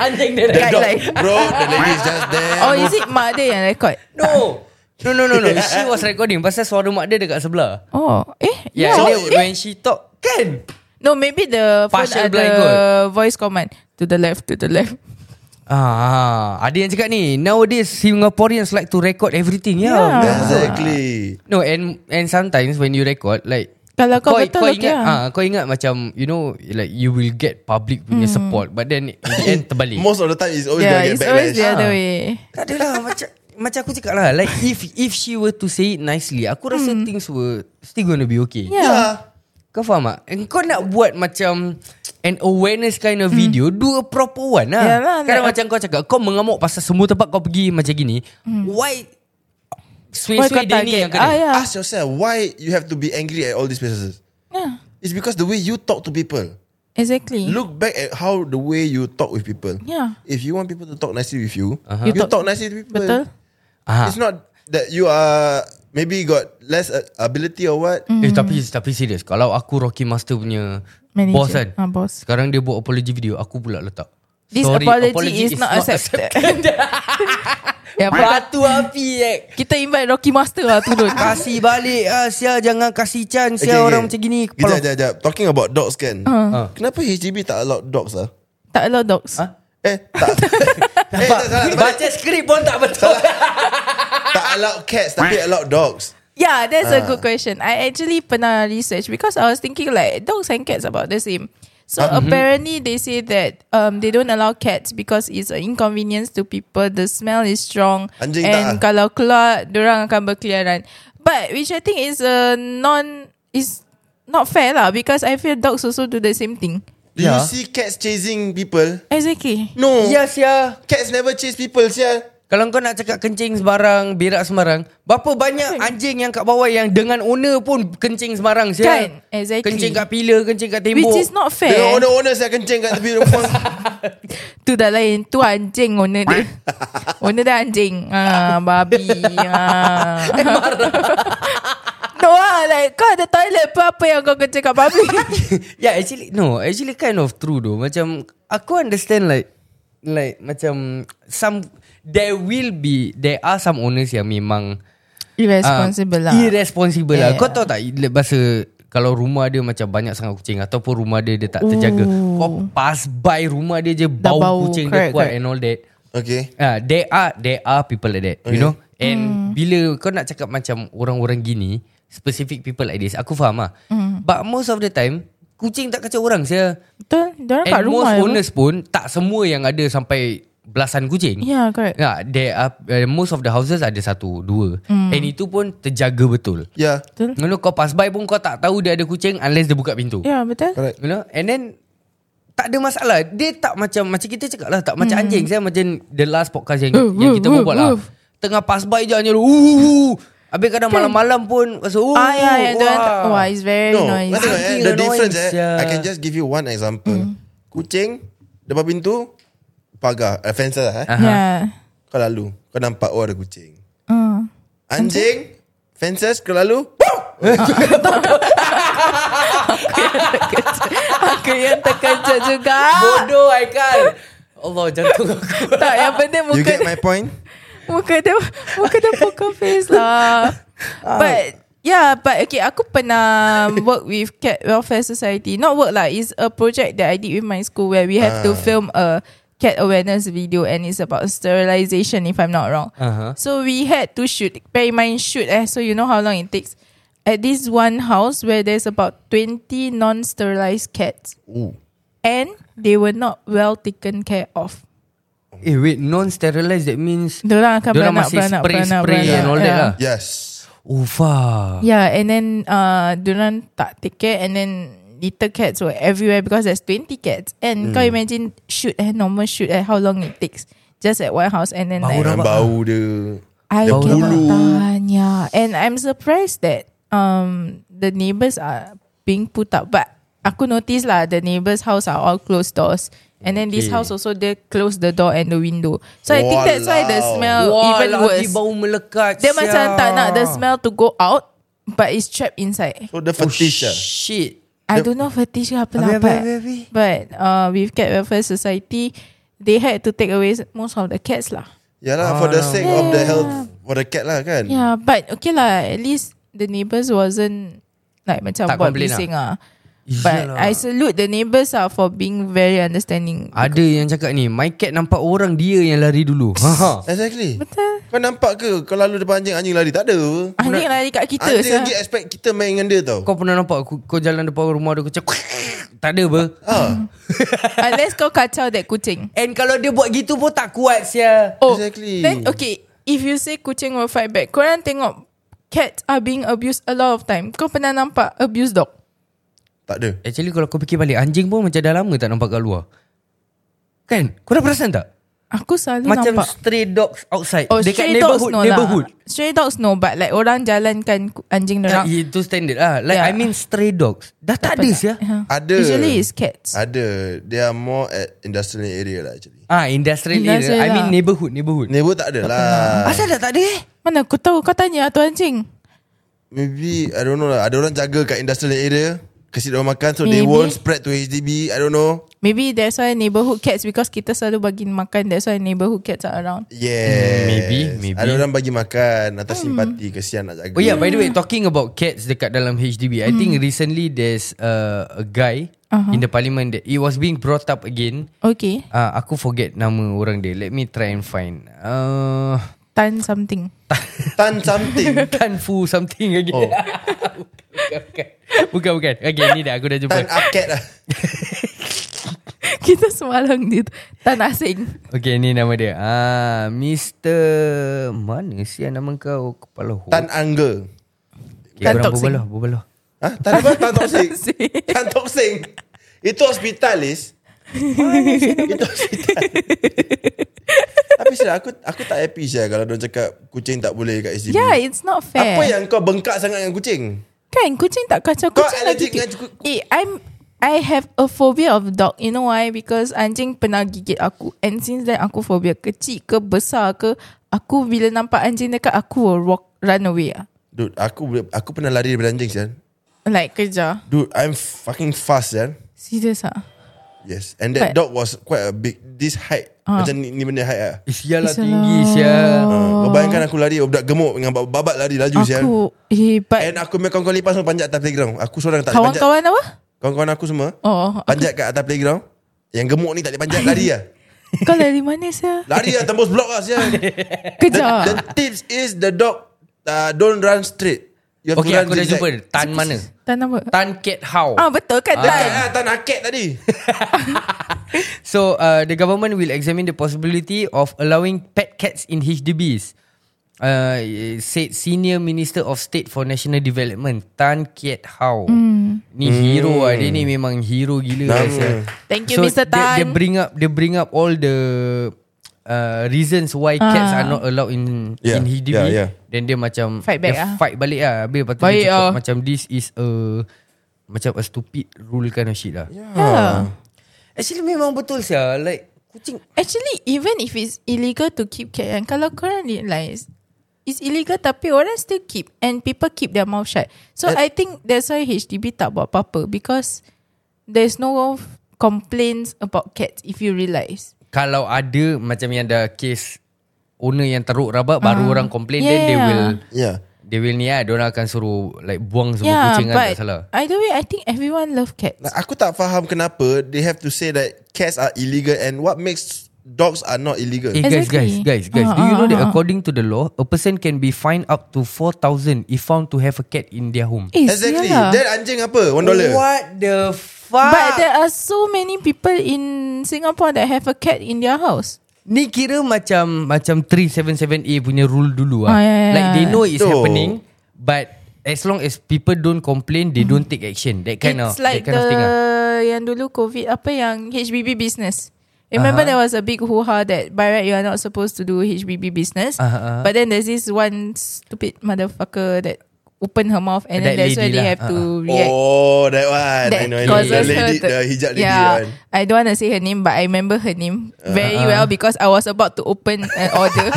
S3: Anjing dia
S2: The
S4: Guide
S2: dog,
S4: like-
S2: bro, the lady is
S4: [laughs]
S2: just there.
S4: Oh, is it mak dia yang rekod?
S3: [laughs] No No no no no She was recording Pasal suara mak dia dekat sebelah
S4: Oh, eh?
S3: Yeah,
S4: yeah.
S3: so, dia,
S4: eh?
S3: when she talk Kan
S4: No, maybe the phone
S3: Partial
S4: ada
S3: blindfold.
S4: voice command to the left, to the left.
S3: Ah, ada yang cakap ni nowadays Singaporeans like to record everything ya. Yeah.
S4: Yeah.
S2: Exactly.
S3: No and and sometimes when you record like
S4: Kalau kau betul,
S3: kau
S4: okay
S3: ingat
S4: lah.
S3: ah, kau ingat macam you know like you will get public punya
S4: Hmm.
S3: support but then in the end terbalik.
S2: Most of the time it's always
S4: yeah,
S2: gonna
S4: it's
S2: get
S4: always
S2: backlash.
S4: the other
S3: Ah.
S4: way.
S3: [laughs] tak adalah macam macam aku cakap lah like if if she were to say it nicely aku
S4: Hmm.
S3: rasa things were still going to be okay.
S4: Yeah.
S2: Ah.
S3: Kau faham tak? And Kau nak buat macam an awareness kind of video, do a proper one lah.
S4: Hmm. Yalah,
S3: Sekarang
S4: like-
S3: macam kau cakap, kau mengamuk pasal semua tempat kau pergi macam gini. Why
S4: Why Hmm. kau
S3: Sway-sway dia ni
S4: target?
S3: yang
S4: Ah,
S3: kena?
S4: yeah.
S2: Ask yourself why you have to be angry at all these places.
S4: Yeah.
S2: It's because the way you talk to people.
S4: Exactly.
S2: Look back at how the way you talk with people.
S4: Mm. Yeah.
S2: If you want people to talk nicely with you,
S4: You
S2: you,
S4: talk-
S2: talk, nicely to people.
S4: Betul?
S3: Uh-huh. Ah.
S2: It's not that you are maybe got less uh, ability or what.
S3: Eh tapi tapi serius kalau aku Rocky Master punya
S4: Hmm. Manager.
S3: boss kan.
S4: Ah, boss.
S3: Sekarang dia buat apology video, aku pula letak.
S4: This
S3: Sorry,
S4: [laughs] apology, is, not accepted. Ya, apa?
S3: [laughs] Batu api eh.
S4: Kita invite Rocky Master lah turun.
S3: Kasih balik ah, Sia jangan kasih chance Sia orang macam gini
S2: Kejap,
S3: Kepala
S2: kejap, kejap Talking about dogs kan
S3: Ah.
S2: Kenapa HDB tak allow dogs lah
S4: tak allow dogs.
S3: Ha? [laughs]
S2: Eh tak Eh
S3: Nampak?
S2: tak salah terbalik.
S3: Baca skrip pun tak betul
S2: Tak allow cats Tapi allow dogs
S4: Yeah, that's a
S2: Ah.
S4: good question. I actually pernah research because I was thinking like dogs and cats about the same. So
S2: Ah, mm-hmm.
S4: apparently they say that um they don't allow cats because it's an inconvenience to people. The smell is strong
S2: Anjing
S4: and
S2: tak ah?
S4: kalau keluar orang akan berkeliaran. But which I think is a non is not fair lah because I feel dogs also do the same thing.
S2: Do you
S3: Yeah.
S2: see cats chasing people
S4: Exactly.
S2: No
S3: Ya Sia
S2: Cats never chase people Sial
S3: Kalau kau nak cakap kencing sembarang Berak sembarang Berapa
S4: Kan?
S3: banyak anjing yang kat bawah Yang dengan owner pun Kencing sembarang Sia
S4: Kan, exactly.
S3: Kencing kat pila Kencing kat tembok
S4: Which is
S3: [laughs]
S4: not
S2: Dengan
S4: fair.
S2: owner-owner saya kencing kat tepi rumah
S4: [laughs] Tu dah lain Tu anjing owner dia Owner dia anjing ah, Babi ah. [laughs] No lah like, Kau ada toilet pun Apa yang kau kerja kat babi
S3: Yeah actually No actually kind of true though Macam Aku understand like Like macam Some There will be There are some owners yang memang
S4: Irresponsible
S3: Ah,
S4: lah
S3: Irresponsible lah
S4: Yeah.
S3: Kau tahu tak le- Bahasa Kalau rumah dia macam banyak sangat kucing Ataupun rumah dia dia tak terjaga
S4: Ooh.
S3: Kau pass by rumah dia je
S4: Dah
S3: Bau,
S4: bau,
S3: kucing
S4: correct,
S3: dia kuat
S4: correct.
S3: and all that
S2: Okay
S3: Ah, There are There are people like that You
S2: Okay.
S3: know And
S4: Hmm.
S3: bila kau nak cakap macam Orang-orang gini Specific people like this Aku faham lah
S4: Hmm.
S3: But most of the time Kucing tak kacau orang saya
S4: Betul Diorang kat
S3: And
S4: rumah ya,
S3: most
S4: apa?
S3: owners pun Tak semua yang ada sampai Belasan kucing
S4: Yeah correct
S3: Ya, there are uh, most of the houses ada satu, dua. Mm.
S4: Hmm.
S3: And itu pun terjaga betul.
S2: Yeah
S4: Betul
S3: You know, kau pass by pun kau tak tahu dia ada kucing unless dia buka pintu.
S4: Hmm. Ya yeah, betul
S2: Correct
S3: You know, and then tak ada masalah. Dia tak macam macam kita cakap lah, tak macam anjing. Saya macam the last podcast yang,
S4: Hmm. Woof,
S3: yang kita
S4: woof,
S3: berbual lah.
S4: woof. Kan?
S3: Tengah pass by je anjing. Ooh. Habis kadang malam-malam pun rasa ooh.
S4: Ah ya ya diorang tak-
S3: wah.
S4: Wah it's very
S2: No
S4: noisy
S2: kau tengok, eh,
S3: Fucking
S2: The difference eh
S3: annoying, sia.
S2: I can just give you one example
S4: Mm-hmm.
S2: Kucing Depan pintu Pagar eh, Fence lah eh
S4: Yeah
S2: Kau lalu Kau nampak Oh ada kucing
S4: uh.
S2: Anjing Fences Kau lalu
S4: Aku yang terkejut juga
S3: Bodoh Aikal. Allah jantung aku.
S4: [laughs] Tak yang penting
S2: You
S4: muka
S2: get my point
S4: Muka dia Muka dia poker face lah
S3: Ah.
S4: But Yeah but okay Aku
S3: [laughs]
S4: pernah Work with Cat Welfare Society Not work lah It's a project That I did with my school Where we
S3: Ah.
S4: have to film A cat awareness video And it's about sterilization If I'm not wrong
S3: Uh-huh.
S4: So we had to shoot Bear in mind shoot eh So you know how long it takes At this one house Where there's about 20 non-sterilized cats And They were not well taken care of
S3: Eh wait, non-sterilized that means
S4: Diorang akan
S3: Diorang
S4: beranak,
S3: masih
S4: beranak, beranak,
S3: spray-spray
S4: beranak.
S3: and all that
S4: Yeah.
S3: lah.
S2: Yes
S3: Ufa.
S4: Yeah, and then uh, diorang tak take care and then little cats were everywhere because there's 20 cats. And
S2: Hmm.
S4: kau imagine shoot eh, normal shoot eh, how long it takes just at one house and then
S3: Bau
S4: like,
S3: dah
S2: Dengan bau dia
S4: I
S2: dah
S4: cannot
S2: bulu.
S4: tahan, yeah. And I'm surprised that um the neighbors are being put up. But aku notice lah, the neighbors' house are all closed doors. And then
S3: Okay.
S4: this house also they close the door and the window. So I think that's why the
S2: Walao.
S4: smell even
S3: lagi
S4: worse.
S3: bau melekat.
S4: Dia
S3: sia.
S4: macam tak nak the smell to go out But it's trapped inside
S2: So the
S3: Oh,
S2: fetish lah
S3: Shit.
S4: I don't know fetish ke apa lah
S3: Habis,
S4: But,
S3: habis, habis.
S4: but uh, with Cat Welfare Society They had to take away most of the cats lah
S2: Yalah Ya for the sake of the health For the cat lah kan
S4: Yeah but okay lah At least the neighbours wasn't Like macam
S3: Tak
S4: buat
S3: complain
S4: bising lah But
S3: Iyalah.
S4: I salute the neighbours lah For being very understanding
S3: ada yang cakap ni, my cat nampak orang dia yang lari dulu. Ha ha.
S2: Exactly Betul Kau nampak ke Kau lalu depan anjing Anjing lari Tak ada apa.
S4: Anjing lari kat lah kita
S2: Anjing
S4: sah.
S2: lagi expect kita main dengan dia tau
S3: Kau pernah nampak aku, kau jalan depan rumah dia kau macam [laughs] tak ada apa.
S4: Hmm.
S2: Ah,
S4: Unless kau kacau that
S3: [laughs]
S4: kucing
S3: And kalau dia buat gitu pun tak kuat sia.
S4: Oh,
S2: Exactly.
S4: Then okay, if you say kucing will fight back, korang tengok cats are being abused a lot of time. Kau pernah nampak abuse dog?
S2: Tak ada
S3: Actually kalau kau fikir balik anjing pun macam dah lama tak nampak kat luar. Kan? Kau dah perasan tak?
S4: Aku selalu
S3: Macam
S4: nampak.
S3: stray dogs outside.
S4: Oh,
S3: Dekat
S4: stray dogs
S3: neighborhood,
S4: no
S3: neighborhood.
S4: lah. Stray dogs no, but like orang jalankan ku- anjing
S3: Ah,
S4: dorang.
S3: itu standard lah. Like
S4: Yeah.
S3: I mean stray dogs. Dah tak, ada sia.
S4: Yeah.
S2: Ada.
S4: Usually it's cats.
S2: Ada They are more at Industrial area lah actually
S3: Ah, industrial,
S4: Industrial
S3: area. I mean
S4: lah.
S3: neighborhood, neighborhood.
S2: Neighbor tak ada lah
S3: Asal dah tak ada eh?
S4: Mana aku tahu kau tanya tu anjing.
S2: Maybe I don't know lah Ada orang jaga kat industrial area Kasih dia makan So Maybe. they
S4: Maybe.
S2: won't spread to HDB I don't know
S4: Maybe that's why neighborhood cats because kita selalu bagi makan. That's why neighborhood cats are around.
S2: Yes
S3: maybe, maybe.
S2: Ada orang bagi makan Atas
S4: Hmm.
S2: simpati Kesian nak jaga
S3: Oh yeah, by the way, talking about cats dekat dalam HDB, I
S4: Hmm.
S3: think recently there's uh, a guy
S4: Uh-huh.
S3: in the parliament that it was being brought up again.
S4: Okay.
S3: Uh, aku forget nama orang dia. Let me try and find. Uh,
S4: Tan something. [laughs]
S2: Tan
S3: [laughs]
S2: something
S3: Tan Fu something again.
S2: Oh.
S3: [laughs] bukan, bukan. bukan, bukan. Okay, ni dah. Aku dah jumpa.
S2: Tan aket lah
S4: kita semalam dia tu. Tan asing.
S3: Okay, ni nama dia. Ah, Mr. Mana sih nama kau? Kepala ho.
S2: Tan angga
S3: okay,
S4: Tan
S3: orang
S4: Tock Seng.
S3: berbalah, berbalah.
S2: Ha? Tan apa?
S4: [laughs]
S2: Tan toksik
S4: Toksik.
S2: Tan toksik Itu hospitalis Itu hospital Tapi sila aku aku tak happy je kalau dia cakap kucing tak boleh kat SGB.
S4: Yeah, it's not fair.
S2: Apa yang kau bengkak sangat dengan kucing?
S4: Kan kucing tak kacau
S2: Kau
S4: kucing
S2: allergic
S4: lagi.
S2: dengan ku-
S4: Eh, I'm I have a phobia of dog. You know why? Because anjing pernah gigit aku. And since then aku phobia kecil ke besar ke, aku bila nampak anjing dekat aku will walk run away. ah.
S2: Dude, aku boleh- aku pernah lari daripada anjing sian.
S4: Like kerja.
S2: Dude, I'm fucking fast sian.
S4: Serious ah.
S2: Yes. And that
S4: But-
S2: dog was quite a big this height.
S4: Ah.
S2: Macam ni, ni benda height ah.
S3: Isyalah
S4: Isyalah.
S3: tinggi sia.
S2: Oh. bayangkan aku lari budak gemuk dengan babat lari laju sian.
S4: Aku eh
S2: And
S4: but
S2: aku punya kawan-kawan lipas semua panjat atas playground. Aku seorang tak boleh panjat.
S4: kawan-kawan apa?
S2: Kawan-kawan aku semua
S4: Oh,
S2: panjat kat atas playground. Yang gemuk ni tak boleh panjat lari lah.
S4: kau dari mana saya?
S2: Lari lah tembus blok lah
S4: [laughs]
S2: sian. The, the
S4: Kerja.
S2: tips is the dog uh, don't run straight. You have
S3: Okay,
S2: to run
S3: aku dah
S2: zigzag.
S3: jumpa. Tan mana?
S4: Tan apa?
S3: Tan Cat How.
S4: Ah betul kan
S2: Dekat
S4: Tan?
S2: lah tan akek
S3: [laughs]
S2: tadi.
S3: So uh, the government will examine the possibility of allowing pet cats in HDBs. Uh, said senior minister of state for national development Tan Kiat How.
S4: Hmm.
S3: Ni hero lah dia ni memang hero gila
S2: Hmm. Nama.
S3: guys. eh.
S4: Thank you, Mr. Tan.
S3: They, they bring up they bring up all the uh, reasons why cats
S4: Ah.
S3: are not allowed in
S2: Yeah,
S3: in HDB.
S2: yeah, yeah.
S3: Then dia macam
S4: Fight back
S3: dia
S4: ah.
S3: fight balik ah. Habis lepas tu dia
S4: Baik
S3: cakap
S4: ah.
S3: macam this is a macam a stupid rule kind of shit lah.
S2: Ah.
S4: Yeah.
S3: Actually memang betul sia Like kucing
S4: Actually even if it's illegal to keep cat kan Kalau korang realise It's illegal tapi orang still keep And people keep their mouth shut So I think that's why HDB tak buat apa-apa Because There's no complaints about cats If you realise
S3: Kalau ada Macam yang ada Case Owner yang teruk rabak uh, Baru orang complain yeah. Then they
S4: Yeah.
S3: will
S2: Yeah.
S3: They will ni lah Diorang akan suruh Like buang semua
S4: Yeah
S3: kucing kan
S4: but
S3: Tak salah
S4: Either way I think everyone love cats
S2: Like, aku tak faham kenapa they have to say that cats are illegal and what makes dogs are not illegal.
S3: Eh guys guys
S4: Exactly.
S3: guys guys
S4: Ah,
S3: Do you
S4: ah,
S3: know that
S4: ah, ah.
S3: according to the law A person can be fined up to 4,000 If found to have a cat in their home
S4: Eh
S2: exactly.
S4: sial lah.
S2: Then anjing apa? One dollar.
S3: What the fuck
S4: But there are so many people in Singapore That have a cat in their house
S3: Ni kira macam Macam 377A punya rule dulu
S4: Ah,
S3: lah
S4: ya, ya,
S3: Like
S4: ya.
S3: they know it's
S2: Betul.
S3: happening But As long as people don't complain They don't take action That kind of
S4: It's like
S3: That kind
S4: the
S3: of thing ah. lah
S4: yang dulu COVID apa yang HBB business. Remember
S3: Uh-huh.
S4: there was a big hoo-ha that by right you are not supposed to do HBB business.
S3: Uh-huh.
S4: But then there's this one stupid motherfucker that open her mouth and
S3: That
S4: then that's why
S3: lady
S4: they
S3: lah. Uh-huh.
S4: have to react.
S2: Oh, that one. I
S4: That
S2: know, I know.
S4: causes
S2: The
S4: her
S2: lady,
S4: to,
S2: the hijab lady
S4: yeah,
S2: one.
S4: I don't want to say her name, but I remember her name very
S2: Uh-huh.
S4: well because I was about to open an
S2: [laughs]
S4: order.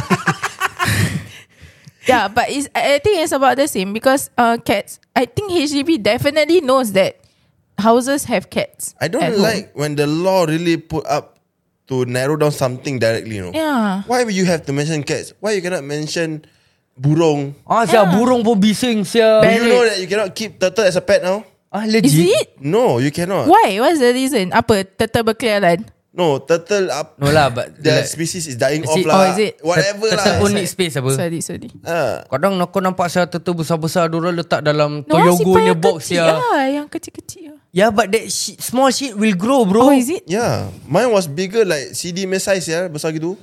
S4: yeah, but it's I I think it's about the same because uh, cats. I think HDB definitely knows that houses have cats.
S2: I don't
S4: at home.
S2: like when the law really put up to narrow down something directly, you know.
S4: Yeah.
S2: Why will you have to mention cats? Why you cannot mention burung?
S3: Ah, sia burung pun bising sia.
S2: Do you know that you cannot keep turtle as a pet now?
S3: Ah,
S4: Is
S3: legit.
S4: it?
S2: No, you cannot.
S4: Why? What's the reason? Apa turtle berkeliaran?
S2: No, turtle up.
S3: No lah,
S2: [laughs]
S3: but
S2: The
S3: like-
S2: species is dying
S3: Is
S2: off
S3: it-
S2: lah.
S4: oh, is it?
S2: Whatever
S3: Turtle
S2: lah.
S3: pun need space apa?
S4: Sorry, sorry.
S2: [laughs] Ah.
S3: Kadang aku nampak saya turtle besar-besar Diorang letak dalam no,
S4: orang simpan
S3: Toyogonya
S4: yang
S3: box
S4: kecil
S3: ya.
S4: lah, yang kecil-kecil.
S3: Yeah, but that shit, small shit will grow
S4: Oh,
S3: bro.
S4: is it?
S2: Yeah, mine was bigger like CD punya size ya, besar gitu.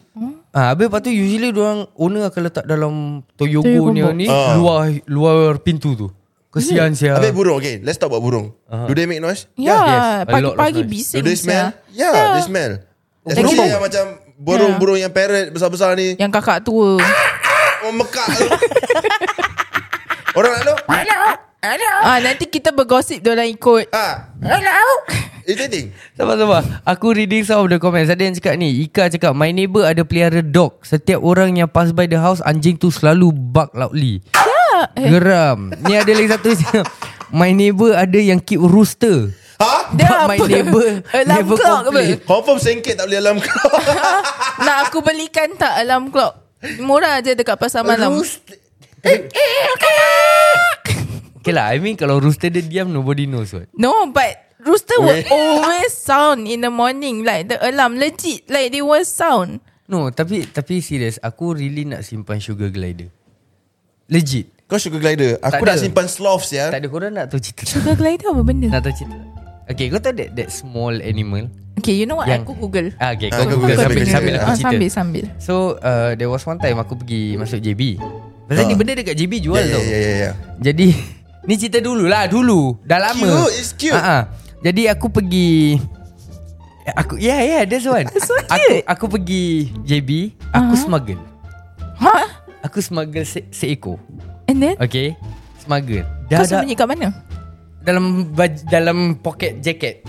S3: Ah, habis lepas tu usually diorang owner akan letak dalam Toyogonya
S4: Toyogo
S3: ni
S2: box. Ah.
S3: luar luar pintu tu. Kesian sia.
S2: Habis burung, okay, let's talk about burung.
S3: Uh-huh.
S2: Do they make noise?
S4: Yeah,
S3: yes, a lot of
S4: pagi-pagi
S3: noise.
S2: Do
S4: bising.
S2: they smell?
S4: sia.
S2: Yeah, they smell. Especially
S4: burung.
S2: yang macam burung-burung yang parrot besar-besar ni.
S4: Yang kakak tua.
S2: Oh, mekak [laughs] tu. Orang nak lu?
S4: Ah, nanti kita bergosip dia orang ikut.
S2: Ah, irritating.
S3: Sabar sabar Aku reading some of the comments Ada yang cakap ni Ika cakap My neighbour ada pelihara dog Setiap orang yang pass by the
S4: Ya, eh.
S3: house Anjing tu selalu bark loudly yeah. Geram Ni ada lagi satu [laughs] My neighbor ada yang keep rooster.
S2: Ha?
S4: [laughs] Dia
S3: But my
S4: apa?
S3: neighbour
S4: Alarm
S3: never
S4: clock ke apa?
S3: complain.
S2: Confirm sengkit tak boleh alarm clock.
S4: Nak aku belikan tak alarm clock Murah je dekat pasar malam
S2: Rooster.
S3: Okay lah, I mean kalau rooster dia diam, nobody knows what.
S4: No but Rooster would always sound in the morning Like the alarm Legit Like they will sound
S3: No, tapi tapi serious, aku really nak simpan sugar glider. Legit.
S2: Kau sugar glider. Aku
S3: Tak
S2: nak
S3: ada.
S2: simpan sloth ya.
S3: Tak ada korang nak tahu cerita tak?
S4: Sugar glider apa benda?
S3: Nak tahu cerita tak? Okay, kau tahu that, that small animal?
S4: Okay you know what
S3: Yang-
S4: Aku google
S3: Ah, okay,
S2: Ah,
S3: kau
S2: kau
S3: google
S2: google
S3: sambil,
S2: benda.
S3: sambil aku
S4: Ah,
S3: cerita.
S4: Sambil sambil
S3: So, uh, there was one time aku pergi masuk JB.
S2: Ah.
S3: Pasal ni benda dekat JB jual
S2: Ya,
S3: tau.
S2: ya, ya, ya.
S3: Jadi [laughs] Ni cerita dulu lah Dulu Dah lama
S2: Cute, it's cute.
S3: uh Jadi aku pergi Aku Yeah yeah that's one so Aku, aku pergi JB Aku uh-huh. smuggle
S4: Huh?
S3: Aku smuggle se- seekor
S4: Ha? And then
S3: Okay Smuggle Oh,
S4: Kau
S3: Dah, dah
S4: sembunyi kat mana?
S3: Dalam baj, Dalam pocket jacket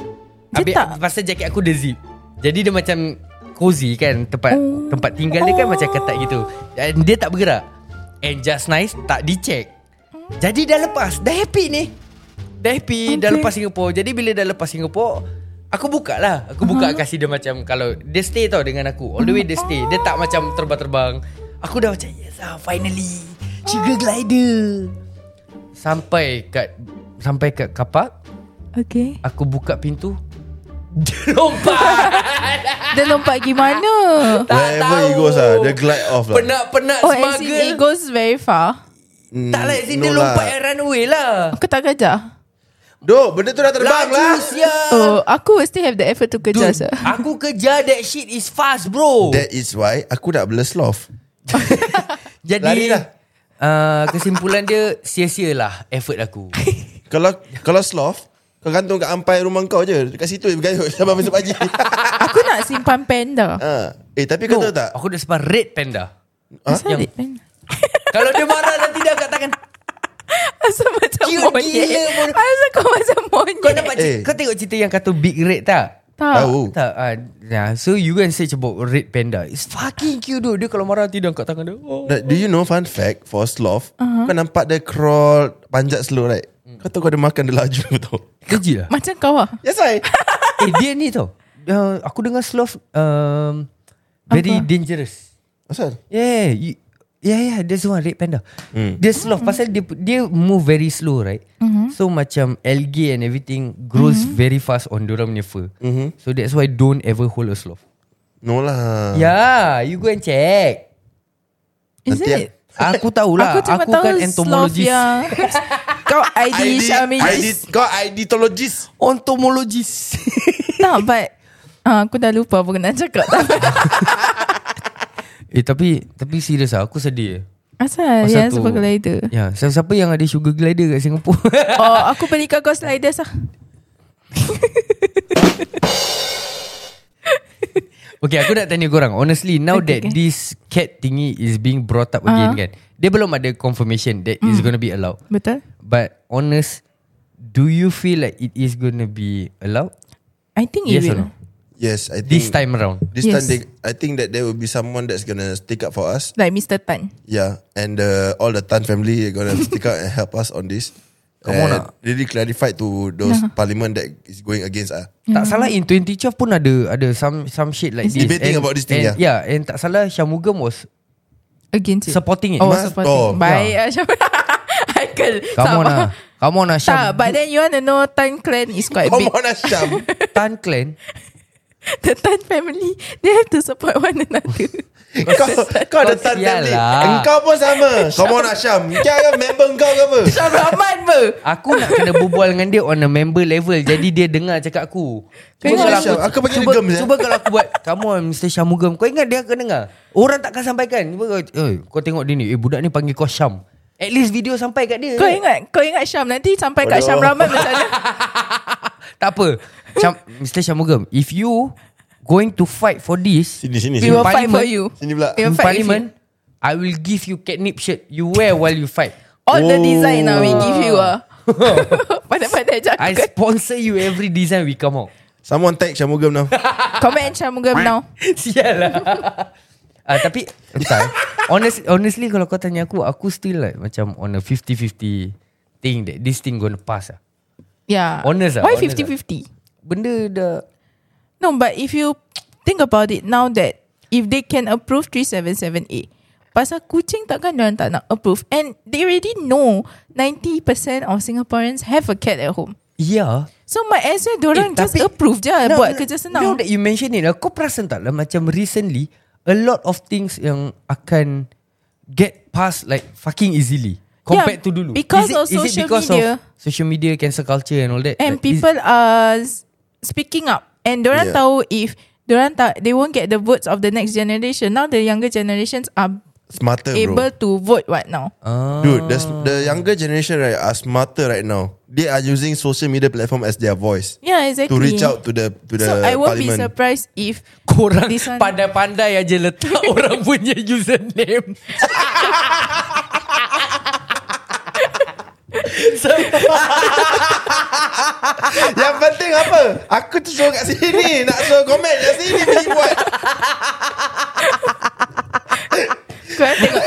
S4: Dia
S3: Habis
S4: tak-
S3: Pasal jacket aku ada zip Jadi dia macam Cozy kan Tempat
S4: Oh.
S3: Tempat tinggal dia kan
S4: Oh.
S3: Macam ketat gitu Dan dia tak bergerak And just nice Tak dicek Jadi dah lepas Dah happy ni Dah happy okay. Dah
S4: Okay.
S3: lepas Singapore Jadi bila dah lepas Singapore Aku buka lah Aku buka uh-huh. kasi dia macam Kalau Dia stay tau dengan aku All the way dia stay Dia tak macam terbang-terbang Aku dah macam Yes ah finally Sugar glider Sampai kat Sampai kat kapak
S4: Okay
S3: Aku buka pintu [laughs] Dia lompat
S4: Dia lompat
S3: [laughs]
S4: gimana?
S2: Wherever he goes ah, dia glide off lah.
S3: Penat-penat
S4: Oh
S3: oh,
S4: as in it
S3: smuggle
S4: goes very far
S2: Mm,
S3: Tak lah as in dia
S2: no
S3: lompat at runway lah
S4: Aku tak kejar
S2: Dok, benda tu dah terbang
S3: Laju
S2: lah.
S3: sial
S4: Oh, uh. Aku will still have the effort to kejar
S3: Dude,
S4: sir.
S3: Aku kejar that shit is fast bro
S2: That is why aku nak bela sloth.
S3: Jadi
S2: lari lah.
S3: uh, Kesimpulan dia Sia-sialah effort
S2: [laughs]
S3: aku
S2: Kalau kalau sloth, kau gantung kat ampai rumah kau je. Dekat situ je bergayut [laughs] sampai besok
S3: [laughs]
S2: pagi.
S4: Aku nak simpan panda
S2: ha. Eh, tapi kau
S3: No,
S2: tahu tak?
S3: Aku dah sebab red panda
S4: Asal
S3: Yang-
S4: red panda?
S3: Kalau dia marah nanti dia angkat tangan
S4: Asal macam
S3: Cute
S4: monyet
S3: gila, mon-
S4: Asal kau macam monyet
S3: Kau dapat
S2: Eh. Oh.
S3: eh. Kau tengok cerita yang kata big red tak
S4: Tak
S2: Tahu.
S3: Tak uh, yeah. So you can search about red panda It's fucking cute dude Dia kalau marah nanti dia angkat tangan dia oh.
S2: Like, Do you know fun fact for a sloth? Uh-huh. Kau nampak dia crawl panjat slow right?
S3: Hmm.
S2: Kau tahu kau dia makan dia laju [laughs] tau.
S4: [laughs]
S3: Kecil lah
S4: Macam kau lah
S2: Yes, I.
S3: Eh dia ni tau uh, Aku dengar sloth um, Very
S4: Apa?
S3: dangerous
S2: Asal?
S3: Yeah you, Yeah yeah There's one red panda mm. Dia sloth mm. Pasal dia, dia move very slow right mm-hmm. So macam algae and everything Grows mm-hmm. very fast on dorang punya fur mm-hmm. So that's why don't ever hold a sloth
S2: No lah.
S3: Yeah You go and check
S4: Is
S2: Nanti
S4: it?
S3: Aku tahulah
S4: Aku
S3: Aku,
S4: cuma
S3: aku
S4: tahu
S3: kan
S4: sloth ya.
S3: [laughs] entomologist
S4: yang Kau ID, ID
S2: ID, kau idologist.
S3: Entomologist
S4: Tak but Ah, aku dah lupa apa nak
S3: [laughs]
S4: cakap
S3: [laughs] Eh tapi Tapi serius lah Aku sedih Pasal
S4: Asal yang
S3: tu-
S4: super glider
S3: Oh, Ya Siapa-siapa yang ada sugar glider kat Singapura
S4: [laughs] Oh aku beli kau sliders lah
S3: [laughs] Okay aku nak tanya korang Honestly now okay, that okay.
S4: Okay, okay. Uh-huh.
S3: this cat thingy Is being brought up again kan Dia belum ada confirmation That mm. is gonna be allowed
S4: Betul
S3: But honest Do you feel like It is gonna be allowed
S4: I think it
S3: Yes or
S4: will
S3: no
S2: Yes, I think.
S3: This time around
S2: This
S4: Yes.
S2: time, they, I think that there will be someone that's gonna stick up for us.
S4: Like Mr. Tan
S2: Yeah, and uh, all the Tan family are gonna [laughs] stick up and help us on this.
S3: Come on
S2: And
S3: lah.
S2: really clarify to those
S4: Uh-huh.
S2: parliament that is going against us.
S3: Tak salah in 2012 pun ada Ada some some shit like
S4: Is
S3: this
S4: it-
S2: Debating
S3: and,
S2: about this thing,
S3: and, yeah And tak salah Syamugam was
S4: Against it
S3: Supporting it
S4: Oh
S2: Mas-
S4: supporting
S2: oh,
S4: Baik ah, [laughs] yeah. Haikal
S3: Come on lah Come on lah Syam
S4: Tak but then you want to know Tan clan is quite
S3: Oh,
S2: Come
S4: big
S2: on,
S3: [laughs]
S2: Asham.
S3: Tan clan
S4: The Tan family They have to support one another
S2: kau, kau ada Tan
S3: Kau
S2: family.
S3: sial lah.
S2: Engkau pun
S3: [laughs]
S2: sama. Come on, Asham. Kau kan member kau ke apa?
S4: Syam Rahman ber
S3: Aku nak kena berbual dengan dia On a member level Jadi dia dengar cakap aku
S2: Come on,
S3: Cuba kalau
S2: Asham. Aku panggil
S3: cuba,
S2: dia gem je.
S3: cuba kalau aku buat Come on Mr. Syamugam Kau ingat dia akan dengar Orang takkan sampaikan Cuba kau eh, Kau tengok dia ni Eh budak ni panggil kau Syam At least video sampai kat dia
S4: Kau ingat Kau ingat Syam Nanti sampai kat
S2: Aduh.
S4: Syam Rahman macam
S2: [laughs]
S4: mana
S3: Tak apa Syam, Mr. Syamugam If you Going to fight for this
S2: Sini, sini, sini.
S4: We will fight for
S3: Parliament.
S4: you
S2: Sini pula.
S4: We
S3: In
S4: will fight with
S3: parliament I will give you catnip shirt You wear while you fight
S4: you. All
S2: Oh.
S4: the design lah We give you ah. Pandai-pandai
S3: I
S4: cakap
S3: sponsor you every design we come out
S2: Someone tag Syamugam now.
S4: Comment Syam Mugam now
S3: [laughs] Sial lah Ah, tapi tak, honest, Honestly kalau kau tanya aku Aku still like Macam on a 50-50 think that this thing gonna pass ah.
S4: Yeah.
S3: Honest ah,
S4: Ya. Why
S3: honest ah.
S4: 50-50?
S3: Benda dah
S4: No, but if you think about it now that if they can approve 377A, pasal kucing takkan diorang tak nak approve. And they already know 90% of Singaporeans have a cat at home.
S3: Yeah
S4: So might as well diorang
S3: Eh,
S4: just
S3: tapi-
S4: approve je no, buat kerja
S3: ya. Now
S4: senang.
S3: that you mention it lah, Kau perasan tak lah Macam recently A lot of things yang akan Get past like Fucking easily Compared to
S4: Yeah,
S3: dulu
S4: because
S3: is it,
S4: of
S3: is it
S4: social
S3: because
S4: media.
S3: of Social media Cancel culture and all that
S4: and
S3: Like, is-
S4: people are s- speaking up and diorang
S2: Yeah.
S4: tahu if diorang tak they won't get the votes of the next generation. Now the younger generations are
S2: Smarter
S4: able
S2: bro Uh,
S4: to vote right now.
S2: Dude the, the younger generation right Are smarter right now They are using social media platform As their voice
S4: yeah, exactly.
S2: To reach out to the To the
S4: so I won't be
S2: parliament
S4: surprised if
S3: Korang
S4: This one-
S3: pandai-pandai aja letak orang punya username. [laughs] so,
S2: Yang penting apa Aku tu suruh kat sini [laughs] Nak suruh komen kat sini Pergi buat
S4: [laughs] korang
S2: [laughs]
S4: tengok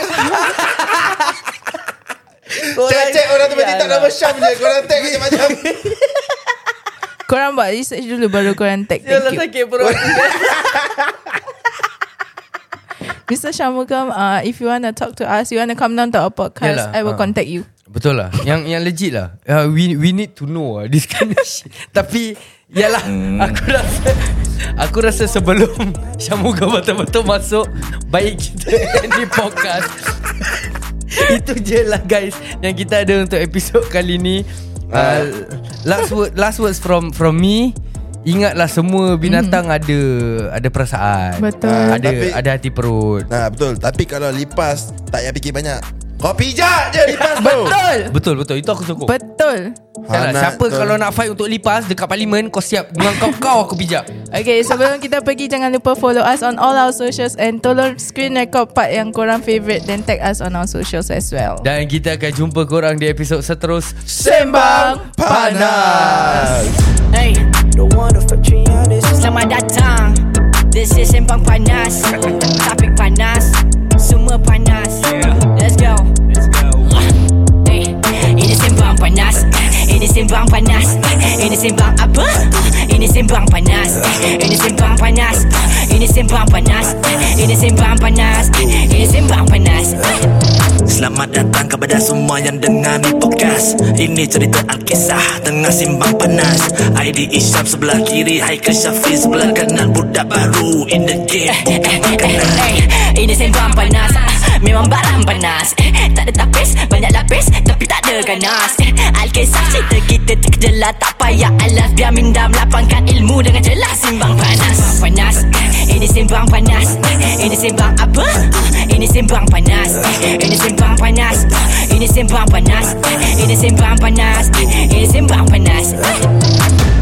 S2: Cek-cek orang tu Macam tak
S3: Yalah.
S2: nama Syam je Korang tag macam-macam
S4: Korang buat research dulu Baru korang tag
S3: Yalah,
S4: Thank
S3: sakit
S4: you [laughs]
S3: perut.
S4: Mr. Shamugam uh, If you want to talk to us You want to come down to our podcast
S3: Yalah,
S4: I
S2: uh.
S4: will
S3: ah.
S4: contact you
S3: Betul lah Yang yang legit lah uh, we, we need to know uh, This kind of shit Tapi Yalah Aku rasa Aku rasa sebelum [laughs] Syamuga betul-betul masuk Baik kita [laughs] end di podcast Itu je lah guys Yang kita ada untuk episod kali ni uh, Last word Last words from from me Ingatlah semua binatang ada ada perasaan.
S4: Betul.
S3: Ada
S2: Tapi-
S3: ada hati perut.
S2: [laughs] Nah betul Tapi kalau lipas Tak payah fikir banyak Kau pijak je lipas bro
S4: Betul
S3: Betul betul itu aku sokong.
S4: Betul
S2: Hanat
S3: Yalah, lah, siapa
S2: tu.
S3: kalau nak fight untuk lipas dekat parlimen kau siap dengan kau [laughs] kau aku pijak.
S4: Okay sebelum kita pergi Jangan lupa follow us On all our socials And tolong screen record part Yang korang favourite Then tag us on our socials as well
S3: Dan kita akan jumpa korang di episod seterus.
S4: Sembang
S2: Panas
S1: Eh, Hey,
S5: The one of Patreon is
S1: selamat datang This is Sembang Panas Topik panas Semua panas Let's go Hey, Ini Sembang Panas Ini Sembang Panas Ini Sembang apa? Ini Sembang Panas Ini Sembang Panas Ini Sembang Panas Ini Sembang Panas Ini Sembang Panas
S5: Selamat datang kepada semua yang dengar ni podcast Ini cerita Alkisah tengah simbang panas ID Isyam sebelah kiri Haikal Syafi sebelah kanan Budak baru in the game
S1: Eh, eh, eh, Ini Sembang Panas Memang barang panas Eh, Tak ada tapis Banyak lapis Tapi tak ada ganas Eh, Alkisah cerita kita terkejelah Tak payah alas Biar minda melapangkan ilmu Dengan jelas Sembang Panas Sembang Panas Eh, Ini Sembang Panas Eh, Ini Sembang apa? Ini Sembang Panas Eh, Ini Sembang Panas Eh, Eh, Ini Sembang Panas Ini Sembang Panas Ini Sembang Panas